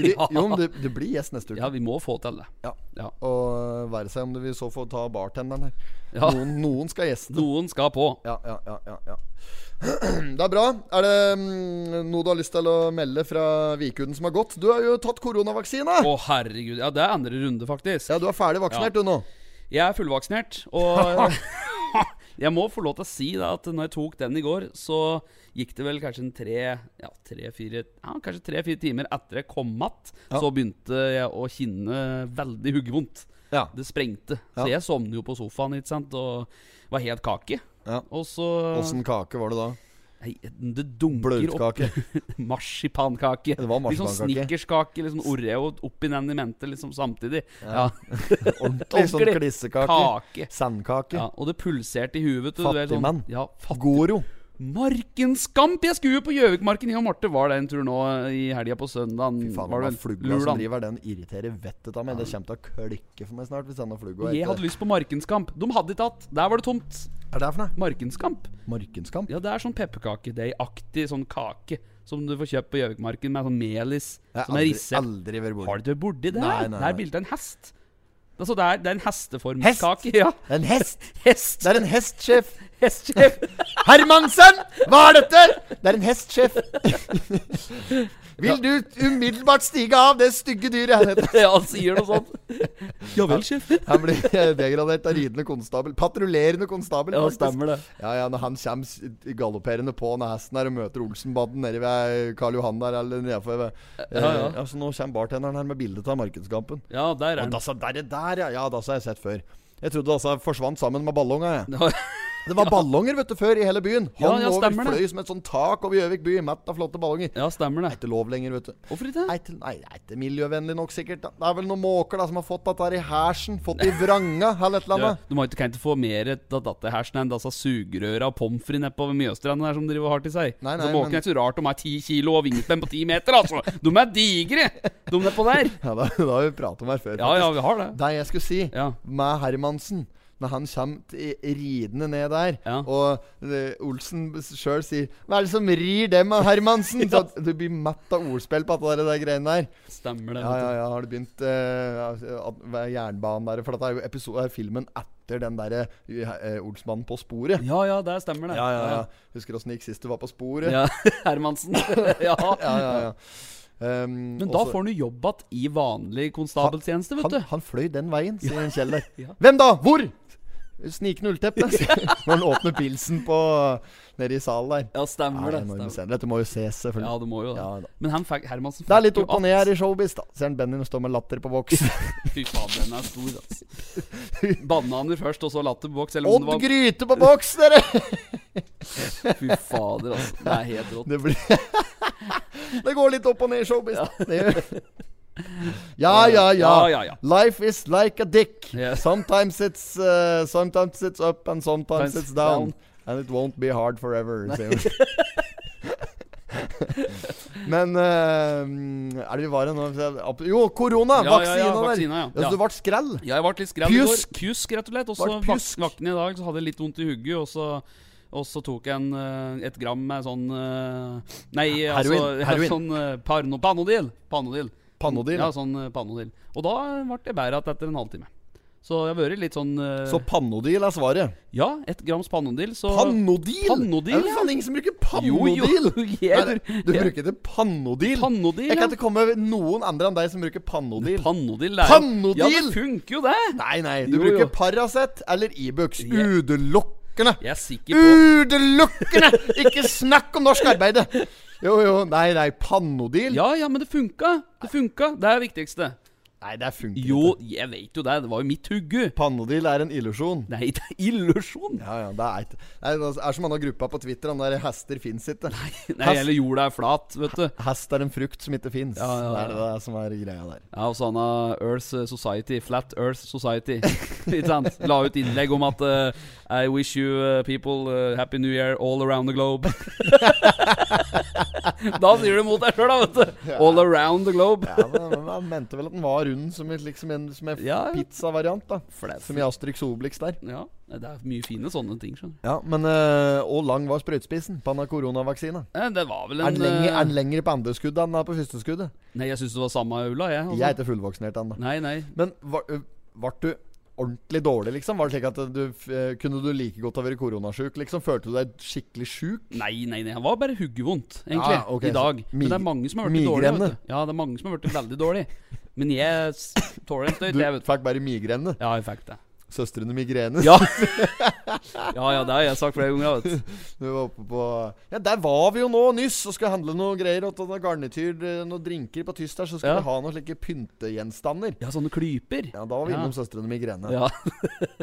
Speaker 1: Ja.
Speaker 2: Jo, men det, det blir gjest neste uke.
Speaker 1: Ja, vi må få til det.
Speaker 2: Ja.
Speaker 1: Ja.
Speaker 2: Og være seg om du vil så få ta bartenderen her.
Speaker 1: Ja.
Speaker 2: Noen, noen skal gjeste.
Speaker 1: Noen skal på.
Speaker 2: Ja, ja, ja, ja, ja. Det er bra. Er det mm, noe du har lyst til å melde fra Vikuden som har gått? Du har jo tatt koronavaksine!
Speaker 1: Å, herregud. Ja, det er andre runde, faktisk.
Speaker 2: Ja, du er ferdig vaksinert, du nå.
Speaker 1: Jeg er fullvaksinert, og jeg må få lov til å si da at når jeg tok den i går, så gikk det vel kanskje en tre, ja, tre, fire, ja, kanskje tre-fire timer etter jeg kom att,
Speaker 2: Ja.
Speaker 1: så begynte jeg å kjenne veldig huggevondt.
Speaker 2: Ja.
Speaker 1: Det sprengte.
Speaker 2: Ja.
Speaker 1: Så jeg sovnet jo på sofaen, ikke sant, og var helt kake.
Speaker 2: Ja.
Speaker 1: Og så
Speaker 2: Åssen kake var det da?
Speaker 1: Nei, det dunker opp.
Speaker 2: Bløtkake.
Speaker 1: Marsipankake.
Speaker 2: Det var
Speaker 1: Litt sånn
Speaker 2: marsipankake.
Speaker 1: snickerskake, litt sånn Oreo oppi den i mente liksom samtidig. Ja.
Speaker 2: Ordentlig sånn
Speaker 1: Ordentlig
Speaker 2: klissekake.
Speaker 1: Kake.
Speaker 2: Sandkake.
Speaker 1: Ja, og det pulserte i huet. vet du. Det er
Speaker 2: Fattigmann.
Speaker 1: Sånn, ja, fattig.
Speaker 2: Goro.
Speaker 1: Markens kamp! Jeg skulle jo på Gjøvikmarken. Jeg og Marte var der en tur nå eh, i helga på søndag.
Speaker 2: Fy faen, den flugla som driver den, irriterer vettet av meg. Det kommer til å klikke for meg snart hvis denne flugla
Speaker 1: Jeg hadde lyst på Markens kamp. De hadde ikke hatt. Der var det tomt.
Speaker 2: Er det her for noe?
Speaker 1: Markens kamp.
Speaker 2: Markenskamp?
Speaker 1: Ja, det er sånn pepperkakedeigaktig sånn kake som du får kjøpt på Gjøvikmarken med sånn melis
Speaker 2: Jeg har
Speaker 1: som er
Speaker 2: aldri,
Speaker 1: risset.
Speaker 2: aldri
Speaker 1: Har
Speaker 2: vært borti
Speaker 1: du ikke vært borti det?
Speaker 2: Nei,
Speaker 1: her?
Speaker 2: nei,
Speaker 1: Det
Speaker 2: nei.
Speaker 1: er bildet av en hest. Altså, det er, det er en
Speaker 2: Hest?
Speaker 1: hesteformskake. Ja.
Speaker 2: En hest!
Speaker 1: Hest!
Speaker 2: Det er en hest, sjef!
Speaker 1: Hestsjef!
Speaker 2: Hermansen! Hva er dette?! Det er en hest, sjef! Vil du umiddelbart stige av det stygge dyret?
Speaker 1: ja, han sier noe sånt. Ja vel, sjef.
Speaker 2: Han blir degradert av ridende konstabel. Patruljerende konstabel.
Speaker 1: Ja,
Speaker 2: faktisk.
Speaker 1: stemmer det.
Speaker 2: Ja, ja, når han kommer s- galopperende på når hesten her og møter Olsenbanden nede ved eh, Karl Johan der eller nedenfor ved eh,
Speaker 1: Ja, ja.
Speaker 2: så nå kommer bartenderen her med bilde av markedskampen.
Speaker 1: Ja, altså, der er
Speaker 2: Og
Speaker 1: han.
Speaker 2: altså, dassa der, der, ja. Ja, dassa har jeg sett før. Jeg trodde dassa forsvant sammen med ballonga, jeg. Det var ballonger vet du før i hele byen.
Speaker 1: Ja,
Speaker 2: Han
Speaker 1: ja,
Speaker 2: over
Speaker 1: stemmer det.
Speaker 2: fløy som et sånt tak over Gjøvik by, mett av flotte ballonger.
Speaker 1: Ja, stemmer det.
Speaker 2: Ikke lov lenger, vet du.
Speaker 1: Hvorfor ikke?
Speaker 2: Nei, til, nei, det er ikke miljøvennlig nok, sikkert. da. Det er vel noen måker da som har fått dette her i hersen. Fått det i vranga eller et eller
Speaker 1: Du,
Speaker 2: annet.
Speaker 1: du må ikke, kan ikke få mer av datterhersen enn disse sånn altså, sugerøra og pommes frites nede på Mjøstranda der som driver hardt i seg.
Speaker 2: Nei, nei,
Speaker 1: så måken
Speaker 2: men-
Speaker 1: er ikke så rart de er ti kilo og vingspenn på ti meter, altså! De er digre, de nedpå der.
Speaker 2: Ja, da, da har vi pratet om her før.
Speaker 1: Ja, ja, vi har det.
Speaker 2: Det jeg skulle si
Speaker 1: Ja.
Speaker 2: med Hermansen når han kommer t- ridende ned der,
Speaker 1: Ja.
Speaker 2: og eh, Olsen sjøl sier 'Hva er det som rir dem av Hermansen?' Så at du blir mett av ordspill på at det der greiene der.
Speaker 1: Stemmer det.
Speaker 2: Ja,
Speaker 1: vet du.
Speaker 2: ja, ja, har det begynt eh, at- hva er jernbanen der? For dette er jo episode, er filmen etter den derre eh, Olsmannen på sporet.
Speaker 1: ja, ja, det stemmer det.
Speaker 2: Ja, ja, ja. Husker åssen det gikk sist du var på sporet?
Speaker 1: Ja, Hermansen. ja.
Speaker 2: ja, ja, ja. Um,
Speaker 1: Men da
Speaker 2: også-
Speaker 1: får han jo jobb igjen i vanlig konstabeltjeneste, vet
Speaker 2: han,
Speaker 1: du.
Speaker 2: han fløy den veien, sier en Kjell der.
Speaker 1: Ja.
Speaker 2: Hvem da? Hvor? Snikende ullteppe, sier han når han åpner pilsen på nede i salen der.
Speaker 1: Ja,
Speaker 2: Ja,
Speaker 1: stemmer
Speaker 2: det
Speaker 1: det.
Speaker 2: er enorme
Speaker 1: Stemmer.
Speaker 2: scener. Dette må jo ses,
Speaker 1: Ja,
Speaker 2: selvfølgelig.
Speaker 1: det må jo det.
Speaker 2: Ja, da.
Speaker 1: Men han fikk Hermansen
Speaker 2: det er litt
Speaker 1: fikk jo
Speaker 2: opp og ned her i showbiz, da. Ser han Benny stå med latter på boks.
Speaker 1: att- Fy faen, den er stor, altså. Bananer først, og så latterboks. Selv om det
Speaker 2: Odd
Speaker 1: var
Speaker 2: Gryte på boks, dere!
Speaker 1: Fy fader, altså. Det er helt rått.
Speaker 2: Det, blir det går litt opp og ned i showbiz. da. Det gjør- Ja, ja,
Speaker 1: Ja,
Speaker 2: ja.
Speaker 1: ja, ja.
Speaker 2: Life is like a dick.
Speaker 1: Yeah.
Speaker 2: Sometimes it's uh, Sometimes it's up and sometimes
Speaker 1: Times
Speaker 2: it's down.
Speaker 1: down.
Speaker 2: And it won't be hard forever. sier hun. Men eh, er det vi var nå? Jo, korona!
Speaker 1: Ja, ja, ja,
Speaker 2: vaksina der.
Speaker 1: vaksina, ja.
Speaker 2: så
Speaker 1: Ja.
Speaker 2: det ble skrell?
Speaker 1: Ja, jeg ble litt skremt i går.
Speaker 2: Pjusk!
Speaker 1: Pjusk, rett og slett. Og så
Speaker 2: Vart
Speaker 1: vak
Speaker 2: pjusk.
Speaker 1: vakne i dag, så hadde jeg litt vondt i hugget, og så og så tok jeg en, eh, et gram med sånn eh, Nei,
Speaker 2: Heroin,
Speaker 1: altså
Speaker 2: heroin.
Speaker 1: sånn eh, parno, panodil. Panodil.
Speaker 2: Panodil?
Speaker 1: Ja, sånn eh, panodil. Og da ble jeg bedre igjen etter en halvtime. Så jeg har vært litt sånn eh,
Speaker 2: Så Panodil er svaret.
Speaker 1: Ja, ett grams panodil, så
Speaker 2: Panodil?
Speaker 1: Panodil,
Speaker 2: Er det
Speaker 1: ja.
Speaker 2: faen ingen som bruker
Speaker 1: Jo,
Speaker 2: Panodil?
Speaker 1: jo, jeg
Speaker 2: Nei,
Speaker 1: br-
Speaker 2: du
Speaker 1: jeg-
Speaker 2: bruker ikke Panodil?
Speaker 1: Panodil,
Speaker 2: Jeg
Speaker 1: ja.
Speaker 2: kan ikke komme over noen andre enn deg som bruker Panodil.
Speaker 1: Panodil, det er jo-
Speaker 2: Panodil!
Speaker 1: Ja, det funker jo, det!
Speaker 2: nei, nei. Du
Speaker 1: Jo,
Speaker 2: bruker
Speaker 1: jo.
Speaker 2: Paracet eller Ibux.
Speaker 1: Je-
Speaker 2: Utelukkende.
Speaker 1: Jeg er sikker på
Speaker 2: Utelukkende! Ikke snakk om norsk arbeid! Jo, jo. Nei, nei. Panodil?
Speaker 1: Ja, ja, men det funka! Det funka! Det er det viktigste.
Speaker 2: Nei, det funker
Speaker 1: Jo,
Speaker 2: ikke.
Speaker 1: jeg vet jo det. Det var jo mitt hugge.
Speaker 2: Panodil er en illusjon.
Speaker 1: Nei, det er illusjon!
Speaker 2: Ja, ja. Det er, ikke- Nei, det er som han har gruppa på Twitter, han der 'Hester fins ikke'.
Speaker 1: Nei, hele jorda er flat, vet du.
Speaker 2: Hest er en frukt som ikke fins.
Speaker 1: Ja, ja,
Speaker 2: Det
Speaker 1: ja.
Speaker 2: er det der som er greia der.
Speaker 1: Ja, og så han har Earth Society, Flat Earth Society. Ikke sant? La ut innlegg om at eh, I wish you eh, people eh, happy new year all around the globe. da sier du mot deg sjøl, da, vet du. All around the globe.
Speaker 2: Ja, men men Han mente vel at den var rund som, et- liksom en, som en
Speaker 1: Ja, ja.
Speaker 2: pizzavariant, da.
Speaker 1: Flæ-
Speaker 2: Som i Astrix Obelix der.
Speaker 1: Ja, det er mye fine sånne ting, skjønner du.
Speaker 2: Ja, men øh, Hvor lang var sprøytespissen på denne koronavaksina?
Speaker 1: Eh, Det var vel
Speaker 2: Er
Speaker 1: en
Speaker 2: den lenger,
Speaker 1: eh,
Speaker 2: er den lengre på andre skuddet enn den er på første skuddet?
Speaker 1: Nei, jeg syns det var samme aula, jeg. altså.
Speaker 2: Jeg er ikke fullvaksinert ennå.
Speaker 1: Nei, nei.
Speaker 2: Men ble du ordentlig dårlig, liksom? Var det slik at du f- eh, Kunne du like godt ha vært koronasjuk, liksom? Følte du deg skikkelig sjuk?
Speaker 1: Nei, nei, nei. Han var bare huggevondt, egentlig,
Speaker 2: Ja, Ah, ok,
Speaker 1: i dag.
Speaker 2: så
Speaker 1: Men det
Speaker 2: mig-
Speaker 1: er mange som har blitt dårlige.
Speaker 2: migrene.
Speaker 1: vet du. Ja, det er mange som har blitt veldig dårlige. Men jeg s- tåler en støyt,
Speaker 2: Du
Speaker 1: jeg, vet du.
Speaker 2: fikk bare migrene.
Speaker 1: Ja, jeg fikk det.
Speaker 2: Søstrene Migrene.
Speaker 1: Ja. ja, ja, det har jeg sagt flere ganger. Vet. du.
Speaker 2: Du var oppe på Ja, der var vi jo nå nyss og skulle handle noe greier. Og noe garnityr, eh, noen drinker på tyst der, så skulle
Speaker 1: Ja.
Speaker 2: vi ha noen slike pyntegjenstander.
Speaker 1: Ja, sånne klyper.
Speaker 2: Ja, da var vi
Speaker 1: Ja.
Speaker 2: innom Søstrene Migrene.
Speaker 1: Ja,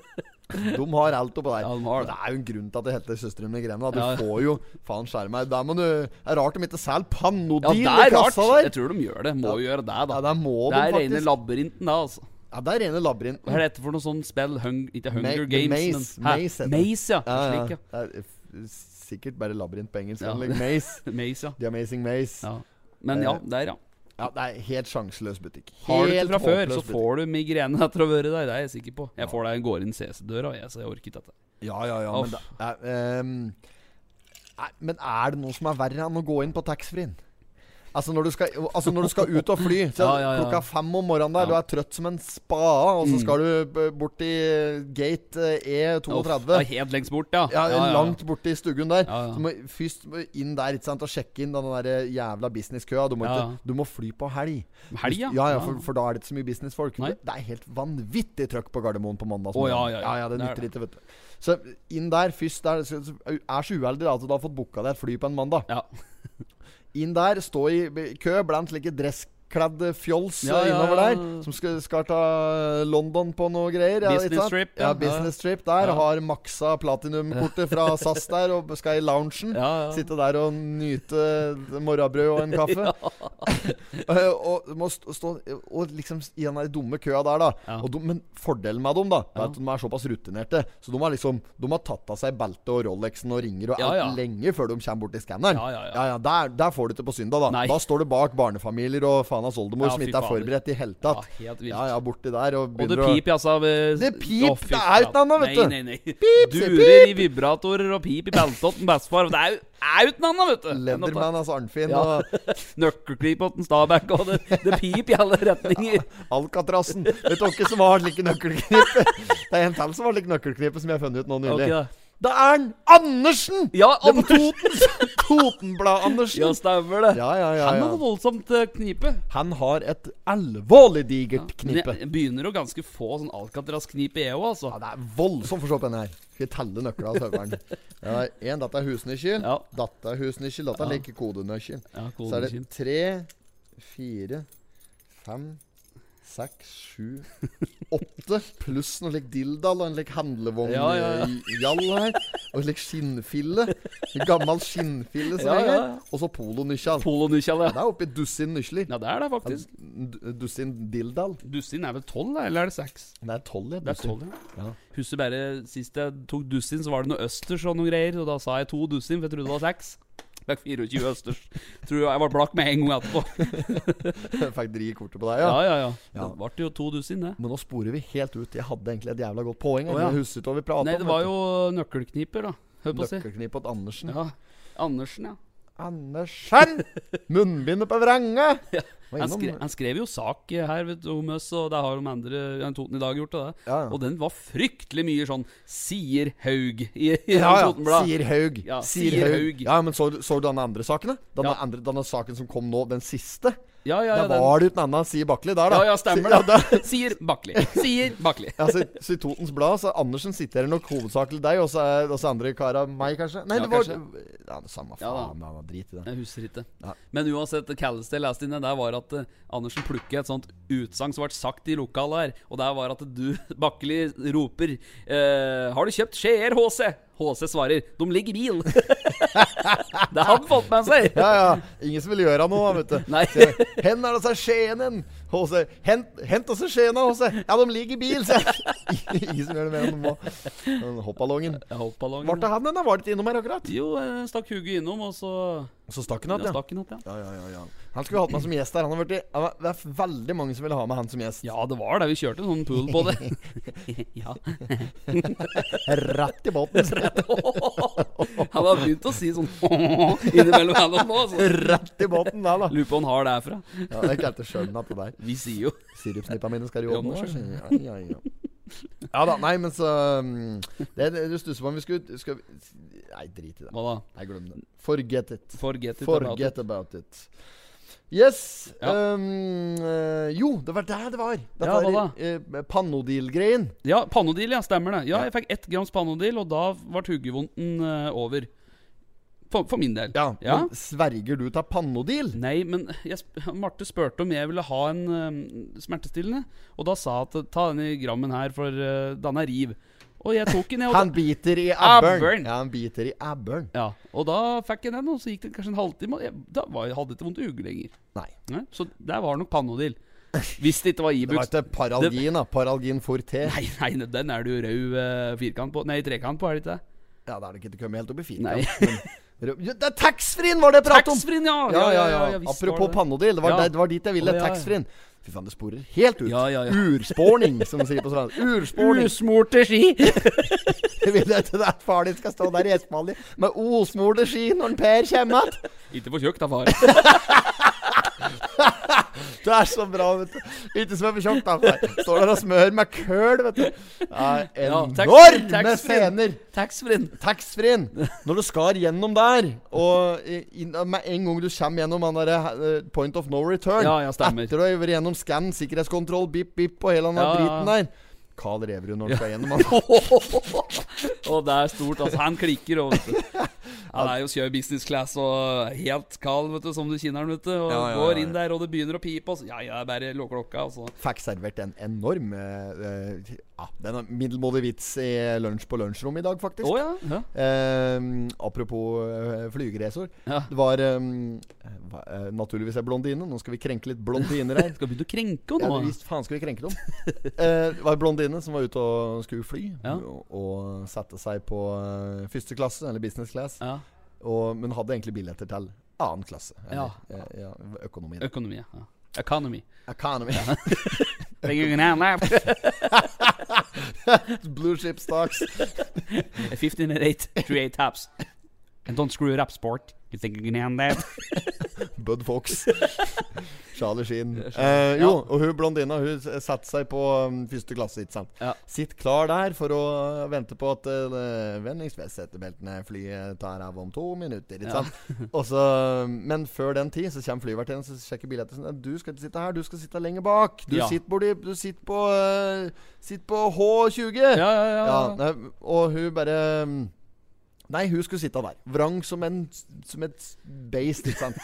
Speaker 2: De har alt oppå der.
Speaker 1: Ja, de har det.
Speaker 2: det er jo en grunn til at det heter Søstrene Migrene. Da. Du
Speaker 1: Ja.
Speaker 2: får jo Faen skjære meg. Der må du Det er rart de ikke selger
Speaker 1: ja
Speaker 2: Panodil
Speaker 1: det er
Speaker 2: i
Speaker 1: rart.
Speaker 2: kassa
Speaker 1: Jeg
Speaker 2: der.
Speaker 1: tror de gjør det. Må jo gjøre det,
Speaker 2: Ja,
Speaker 1: da.
Speaker 2: der må
Speaker 1: Det
Speaker 2: de
Speaker 1: er rene
Speaker 2: faktisk.
Speaker 1: labyrinten, da, altså.
Speaker 2: ja, det er rene labyrinten.
Speaker 1: Hva er dette for noe sånn spill? Hung, ikke Hunger
Speaker 2: Ma-
Speaker 1: Games,
Speaker 2: Maze.
Speaker 1: men Hæ?
Speaker 2: Maze heter det.
Speaker 1: Maze, ja.
Speaker 2: Ja, ja.
Speaker 1: Slik, ja.
Speaker 2: Det er f- sikkert bare labyrint på engelsk.
Speaker 1: Ja.
Speaker 2: eller Maze.
Speaker 1: Maze, ja.
Speaker 2: The Amazing Maze.
Speaker 1: ja. Men
Speaker 2: Eh,
Speaker 1: ja, der, ja.
Speaker 2: Ja, det er helt sjanseløs butikk.
Speaker 1: Har du det
Speaker 2: Helt
Speaker 1: fra før,
Speaker 2: håpløs
Speaker 1: så
Speaker 2: butikk.
Speaker 1: får du migrene etter å ha vært der. Det er jeg sikker på. Jeg får det, jeg går inn CC-døra, jeg, så jeg orker ikke dette.
Speaker 2: Ja, ja, ja. Men,
Speaker 1: Uff.
Speaker 2: da, er, ehm, er, men er det noe som er verre enn å gå inn på taxfree-en? Altså når, du skal, altså når du skal ut og fly så
Speaker 1: Ja, ja, ja.
Speaker 2: klokka fem om morgenen der,
Speaker 1: Ja. Mm.
Speaker 2: du er trøtt som en spade, og så skal du b- bort i gate eh,
Speaker 1: Uff, det
Speaker 2: E32.
Speaker 1: er helt lengst bort, ja.
Speaker 2: Ja, Langt borti stuggen der.
Speaker 1: Ja, ja.
Speaker 2: Så må først må inn der ikke sant, og sjekke inn den der jævla businesskøa. Du, må
Speaker 1: Ja, ja.
Speaker 2: ikke- du må fly på helg.
Speaker 1: Helg, ja.
Speaker 2: ja, ja,
Speaker 1: Ja.
Speaker 2: for, for da er det ikke så mye businessfolk.
Speaker 1: Nei.
Speaker 2: Det er helt vanvittig trøkk på Gardermoen på mandag.
Speaker 1: Å, ja,
Speaker 2: morgen.
Speaker 1: ja, ja.
Speaker 2: ja, Det
Speaker 1: Det er
Speaker 2: nytter
Speaker 1: det.
Speaker 2: ikke, vet du. Så inn der først der, så, så, Er så uheldig altså da, at du har fått booka deg et fly på en mandag.
Speaker 1: Ja.
Speaker 2: Inn der, stå i b- kø blant slike dress Kledd fjols eh,
Speaker 1: Ja, ja,
Speaker 2: innover
Speaker 1: ja.
Speaker 2: der. Som skal, skal ta eh, London på noe greier.
Speaker 1: Business
Speaker 2: ikke sant?
Speaker 1: trip,
Speaker 2: Ja,
Speaker 1: ja.
Speaker 2: business trip der.
Speaker 1: Ja.
Speaker 2: Har maksa platinumkortet fra SAS der og skal i loungen.
Speaker 1: Ja, ja.
Speaker 2: Sitte der og nyte morrabrød og en kaffe. Eh, og, må stå, stå, og liksom i den der dumme køa der, da.
Speaker 1: Ja.
Speaker 2: Og de, men fordelen med dem, da, er
Speaker 1: Ja.
Speaker 2: at de er såpass rutinerte. Så de har liksom De har tatt av seg beltet og Rolexen og ringer og
Speaker 1: Ja,
Speaker 2: alt
Speaker 1: ja.
Speaker 2: lenge før de kommer bort til skanneren.
Speaker 1: Ja, ja, ja.
Speaker 2: der, der får du det på søndag, da.
Speaker 1: Nei.
Speaker 2: Da står det bak barnefamilier og faenas oldemor
Speaker 1: Ja,
Speaker 2: som
Speaker 1: fy
Speaker 2: ikke er
Speaker 1: fader.
Speaker 2: forberedt i hele
Speaker 1: Ja,
Speaker 2: tatt.
Speaker 1: helt vilt.
Speaker 2: Ja, ja, borti der og
Speaker 1: Og det
Speaker 2: begynner
Speaker 1: pip, altså. ved-
Speaker 2: Det pip,
Speaker 1: Å, fy
Speaker 2: det er jo ikke
Speaker 1: faen.
Speaker 2: noe annet, vet du.
Speaker 1: Nei, nei, nei.
Speaker 2: Pip, sier
Speaker 1: Durer i vibratorer og pip i beltotten, bestefar. Det er jo er jo ikke noe annet, vet du.
Speaker 2: å
Speaker 1: enn at-
Speaker 2: Leatherman, altså Arnfinn,
Speaker 1: Ja.
Speaker 2: og
Speaker 1: Nøkkelklipp åt en Stabæk, og det, det pip i alle retninger.
Speaker 2: Alcatrassen. Vet du hvem som har slike nøkkelknipe? Det er en til som har slike nøkkelknipe, som jeg har funnet ut nå nylig.
Speaker 1: Ok, da.
Speaker 2: Det er en Andersen!
Speaker 1: Ja,
Speaker 2: Den
Speaker 1: Anders-
Speaker 2: Toten, Totenblad-Andersen.
Speaker 1: ja, stemmer det.
Speaker 2: Ja, ja, ja,
Speaker 1: Han
Speaker 2: ja.
Speaker 1: hadde voldsomt eh, knipe.
Speaker 2: Han har et alvorlig digert knipe.
Speaker 1: Men Jeg begynner å ganske få sånn Alcatraz-knipe, jeg òg, altså.
Speaker 2: Ja, det er voldsomt for å se på denne her. Skal vi telle nøklene av serveren? Ja, en, dette er husnøkkelen.
Speaker 1: Ja.
Speaker 2: Dette er husnøkkelen. Dette er like kodenøkkelen.
Speaker 1: Ja,
Speaker 2: Så er det tre, fire, fem, seks, sju, åtte pluss noe lik dilldall og en lik
Speaker 1: Ja, ja, ja.
Speaker 2: handlevognjall her. Og en lik skinnfille. En gammel skinnfille som
Speaker 1: Ja,
Speaker 2: henger.
Speaker 1: ja, ja.
Speaker 2: Og så polonøkkel.
Speaker 1: Polonykjal,
Speaker 2: Det
Speaker 1: ja.
Speaker 2: er oppi dusin nøkler.
Speaker 1: Ja, det er det faktisk.
Speaker 2: Du- Dusin dilldall.
Speaker 1: Dussin er vel tolv, da, eller er det seks?
Speaker 2: Det er tolv, ja.
Speaker 1: Det er
Speaker 2: dusin.
Speaker 1: tolv, ja.
Speaker 2: Ja.
Speaker 1: Husker bare sist jeg tok dussin, så var det noe østers og noen greier. Og da sa jeg to dussin, for jeg trodde det var seks. Fikk 24 østers. Tror jeg var blakk med en gang etterpå.
Speaker 2: Jeg Fikk dri kortet på deg,
Speaker 1: Ja,
Speaker 2: ja.
Speaker 1: ja, ja.
Speaker 2: Ja.
Speaker 1: Det ble jo to dussin, det.
Speaker 2: Men nå sporer vi helt ut. Jeg hadde egentlig et jævla godt poeng.
Speaker 1: Å,
Speaker 2: Oh,
Speaker 1: ja.
Speaker 2: Jeg husker ikke hva vi pratet
Speaker 1: Nei,
Speaker 2: om.
Speaker 1: det var jo nøkkelkniper, da. Hør på å si.
Speaker 2: Nøkkelknipp åt Andersen.
Speaker 1: Ja. Andersen, ja.
Speaker 2: Andersen! Munnbindet på vrange! Var
Speaker 1: Han,
Speaker 2: innom-
Speaker 1: skre, han skrev jo sak eh, her vet du, om oss, og det har de andre enn Toten i dag gjort. og Det.
Speaker 2: Ja, ja.
Speaker 1: Og den var fryktelig mye sånn 'Sier Haug' i, i
Speaker 2: ja, ja.
Speaker 1: Totenbladet.
Speaker 2: Sier Haug.
Speaker 1: Ja,
Speaker 2: sier
Speaker 1: sier
Speaker 2: Haug.
Speaker 1: Haug.
Speaker 2: Ja, men så, så du den andre saken, da? Den,
Speaker 1: Ja.
Speaker 2: andre, denne saken som kom nå, den siste?
Speaker 1: Ja, ja, ja,
Speaker 2: da
Speaker 1: den,
Speaker 2: var det jo en annen Sier Bakli der, da.
Speaker 1: ja, ja, stemmer
Speaker 2: Si-
Speaker 1: det.
Speaker 2: da-
Speaker 1: Sier Bakli. Sier Bakli.
Speaker 2: Altså, så I Totens Blad så Andersen siterer nok hovedsakelig deg, og så er og så andre kara meg, kanskje? Nei,
Speaker 1: Ja,
Speaker 2: det var
Speaker 1: kanskje.
Speaker 2: Ja, det Samme
Speaker 1: Ja, da.
Speaker 2: faen, han har drit i det.
Speaker 1: Jeg husker ikke.
Speaker 2: Ja.
Speaker 1: Men uansett, det kaldeste jeg leste inne, der var at eh, Andersen plukker et sånt utsagn som ble sagt i lokalet her, og der var at du, Bakkeli, roper eh, 'Har du kjøpt Skjeer HC?' HC svarer 'De ligger i bil'. det har han fått med seg.
Speaker 2: Ja, ja. Ingen som vil gjøre noe, vet du.
Speaker 1: Nei.
Speaker 2: Så jeg, Hen er det seg skjenen? HC. Hent, hent også skjena, HC. Ja, de ligger i bil, sier jeg. Ingen som gjør det mer enn de må. Den Hoppballongen.
Speaker 1: Jeg holdt ballongen.
Speaker 2: Var det han den? da? Var det ikke innom her akkurat?
Speaker 1: Jo, jeg stakk hugget innom, og så
Speaker 2: Så stakk han
Speaker 1: Jeg
Speaker 2: att, ja.
Speaker 1: stakk han att, ja.
Speaker 2: Ja, ja, ja, ja. Han skulle vi hatt med som gjest der. Han har vært i, han var- det er veldig mange som ville ha med han som gjest.
Speaker 1: Ja, det var det. Vi kjørte en sånn pool på det. ja.
Speaker 2: Rett i båten.
Speaker 1: Han har begynt å si sånn innimellom her nå. altså.
Speaker 2: Rett i båten der, da.
Speaker 1: Lurer på hvor han har det herfra.
Speaker 2: Ja, det er ikke helt skjønn at det der.
Speaker 1: Vi sier jo
Speaker 2: Sirupsnippa mine skal i
Speaker 1: Ja,
Speaker 2: ovnen
Speaker 1: nå
Speaker 2: nå.
Speaker 1: skjønner
Speaker 2: Ja, ja, ja. ja da, nei, men så um, Det er det du stusser på om vi skulle skal vi, Nei, drit i det.
Speaker 1: Hva da?
Speaker 2: Nei, glem det. Forget it.
Speaker 1: Forget it. about it.
Speaker 2: Forget about it. Yes.
Speaker 1: Ja.
Speaker 2: Um, eh, jo, det var der det var. Det
Speaker 1: Ja,
Speaker 2: var
Speaker 1: hva
Speaker 2: eh, Pannodil-greien.
Speaker 1: Ja, pannodil, ja. Stemmer det. Ja, jeg fikk ett grams pannodil, og da ble huggevondten eh, over. For, for min del.
Speaker 2: Ja,
Speaker 1: ja.
Speaker 2: Men sverger du til pannodil?
Speaker 1: Nei, men jeg, sp- Marte spurte om jeg ville ha en eh, smertestillende, og da sa jeg at ta denne grammen her, for uh, denne er riv. Og jeg tok den, jeg. og da-
Speaker 2: Han biter i abberen.
Speaker 1: Abberen.
Speaker 2: Ja, han biter i abberen.
Speaker 1: Ja, og da fikk jeg den, og så gikk det kanskje en halvtime. Og jeg, da var, jeg hadde jeg ikke vondt i hugget lenger.
Speaker 2: Nei.
Speaker 1: Nei, så der var nok Panodil. Hvis det ikke var
Speaker 2: Det var
Speaker 1: Ibux.
Speaker 2: ikke paralgin, da. Paralgin forte.
Speaker 1: Nei, nei, den er det jo rød eh, firkant på. Nei, trekant på, er det ikke det?
Speaker 2: Ja, da er det ikke til å komme helt opp i
Speaker 1: Nei.
Speaker 2: firkant. men- Jo, Det er taxfree-en var det jeg pratet om!
Speaker 1: Taxfree-en, ja!
Speaker 2: Ja, ja, ja.
Speaker 1: visst var
Speaker 2: Apropos
Speaker 1: det.
Speaker 2: pannodil, det var,
Speaker 1: Ja.
Speaker 2: der, det var dit jeg ville.
Speaker 1: Å, ja, ja.
Speaker 2: Taxfree-en. Fy faen, det sporer helt ut.
Speaker 1: Ja, ja, ja.
Speaker 2: Urspårning, som de sier på sånn. Urspårning.
Speaker 1: Usmorte ski!
Speaker 2: Jeg vil ikke at far din skal stå der i Espalje med osmorte ski når en Per kommer igjen.
Speaker 1: Ikke for tjukk, da, far.
Speaker 2: Det er så bra, vet du. Ikke som er for tjukk, da. far. Står der og smører med køl, vet du. Ja,
Speaker 1: Ja, tax-
Speaker 2: enorme
Speaker 1: taxfree.
Speaker 2: scener.
Speaker 1: Taxfree-en.
Speaker 2: Taxfree-en. Når du skar gjennom der, og i- inn- med en gang du kommer gjennom han derre point of no return
Speaker 1: Ja, ja, stemmer.
Speaker 2: Etter å ha vært gjennom scan, sikkerhetskontroll, bip, bip og hele den der
Speaker 1: Ja, ja, ja.
Speaker 2: driten der. Carl Reverud når han skal gjennom han.
Speaker 1: og det er stort, altså. Han klikker og vet du. Ja, det er jo kjør business class og helt kald, vet du, som du kjenner den, vet du. Og
Speaker 6: Ja, ja,
Speaker 1: går
Speaker 6: ja,
Speaker 1: inn der, og det begynner å pipe, og så Ja, ja, det er bare lukker klokka, altså. og så
Speaker 2: Fikk servert en enorm eh, eh, ja, Den er middelmådig vits i lunsj på lunsjrommet i dag, faktisk.
Speaker 1: Å ja. ja.
Speaker 2: Eh, apropos uh, flygeresor.
Speaker 1: Ja.
Speaker 2: Det var eh, hva- eh, Naturligvis er blondine. Nå skal vi krenke litt blondiner her.
Speaker 1: Skal begynne å krenke
Speaker 2: Ja,
Speaker 1: henne nå.
Speaker 2: visst faen skal vi krenke dem. Eh, det var en blondine som var ute og skulle fly,
Speaker 1: Ja.
Speaker 2: og, og satte seg på eh, første klasse, eller business class,
Speaker 1: Ja.
Speaker 2: og, men hadde egentlig billetter til annen klasse.
Speaker 1: Ja.
Speaker 2: Eller, eh, ja, økonomi. da.
Speaker 1: Økonomi. Ja. Economy.
Speaker 2: Economy.
Speaker 1: Fifteen
Speaker 2: Blue ship stocks.
Speaker 1: and eight, three eight taps. And don't screw it up, sport. You think you can hand that?
Speaker 2: Bud Fox. Charlie Sheen. Eh, jo, og hun blondina hun s- satte seg på um, første klasse, ikke sant.
Speaker 1: Ja.
Speaker 2: Sitt klar der for å vente på at uh, vennligst setebeltene flyet tar av om to minutter, ikke sant. Og så, um, men før den tid så kommer flyvertinnen og sjekker billetter. Sånn, du skal ikke sitte her, du skal sitte lenger bak. Du
Speaker 1: Ja.
Speaker 2: sitter borti Du sitter på eh, Sitter på H20.
Speaker 1: Ja, ja, ja.
Speaker 2: Ja, nei, og hun bare mm, Nei, hun skulle sitte der. Vrang som, en, som et beist, ikke sant.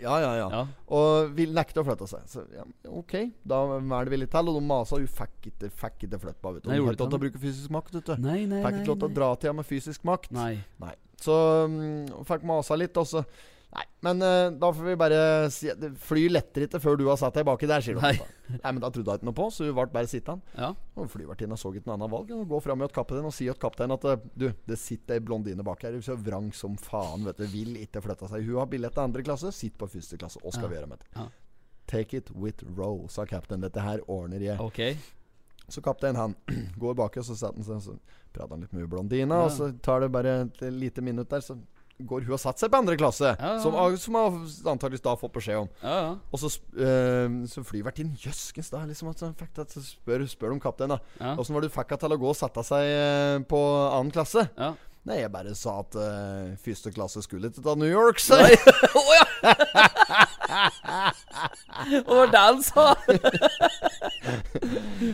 Speaker 2: ja, ja, ja,
Speaker 1: Ja.
Speaker 2: Og ville nekte å flytte seg. Så ja, OK, da er det villig til. Og de masa. Hun fikk ikke, fikk ikke flytte på. Vet du.
Speaker 1: Nei,
Speaker 2: Hun
Speaker 1: gjorde
Speaker 2: fikk ikke lov
Speaker 1: ikke
Speaker 2: til å bruke fysisk makt. Vet du.
Speaker 1: Nei, nei,
Speaker 2: fikk ikke lov til å
Speaker 1: nei.
Speaker 2: dra til henne med fysisk makt.
Speaker 1: Nei.
Speaker 2: Nei. Så mm, hun fikk masa litt, og så Nei, men eh, da får vi bare si Fly letter ikke før du har satt deg baki der, sier hun.
Speaker 1: Nei.
Speaker 2: nei, men da trodde hun ikke noe på, så hun ble bare sittende.
Speaker 1: Ja.
Speaker 2: Og Flyvertinna så ikke noe annet valg enn å gå fram mot kapteinen og si til kapteinen at eh, du, det sitter ei blondine bak her, så vrang som faen, vet du, vil ikke flytte seg. Hun har billett til andre klasse, sitt på første klasse. Hva skal vi gjøre med det?
Speaker 1: Ja.
Speaker 2: Take it with row, sa kapteinen. Dette her ordner jeg.
Speaker 1: Ok.
Speaker 2: Så kapteinen, han går baki, og så setter han seg, og så prater han litt med hun blondina, og så tar det bare et lite minutt der, så går hun og setter seg på andre klasse,
Speaker 1: Ja, ja.
Speaker 2: som, som hun antakeligvis da har fått beskjed om.
Speaker 1: Ja, ja.
Speaker 2: Og så, sp- eh, så flyvertinnen Jøskens, da. Liksom at han fikk det, så spør, spør de kapteinen, da.
Speaker 1: Ja.
Speaker 2: Åssen var det du fikk henne til å gå og sette seg eh, på annen klasse?
Speaker 1: Ja.
Speaker 2: Nei, jeg bare sa at eh, første klasse skulle til New York, så Nei.
Speaker 1: Å ja! Og det var det han sa!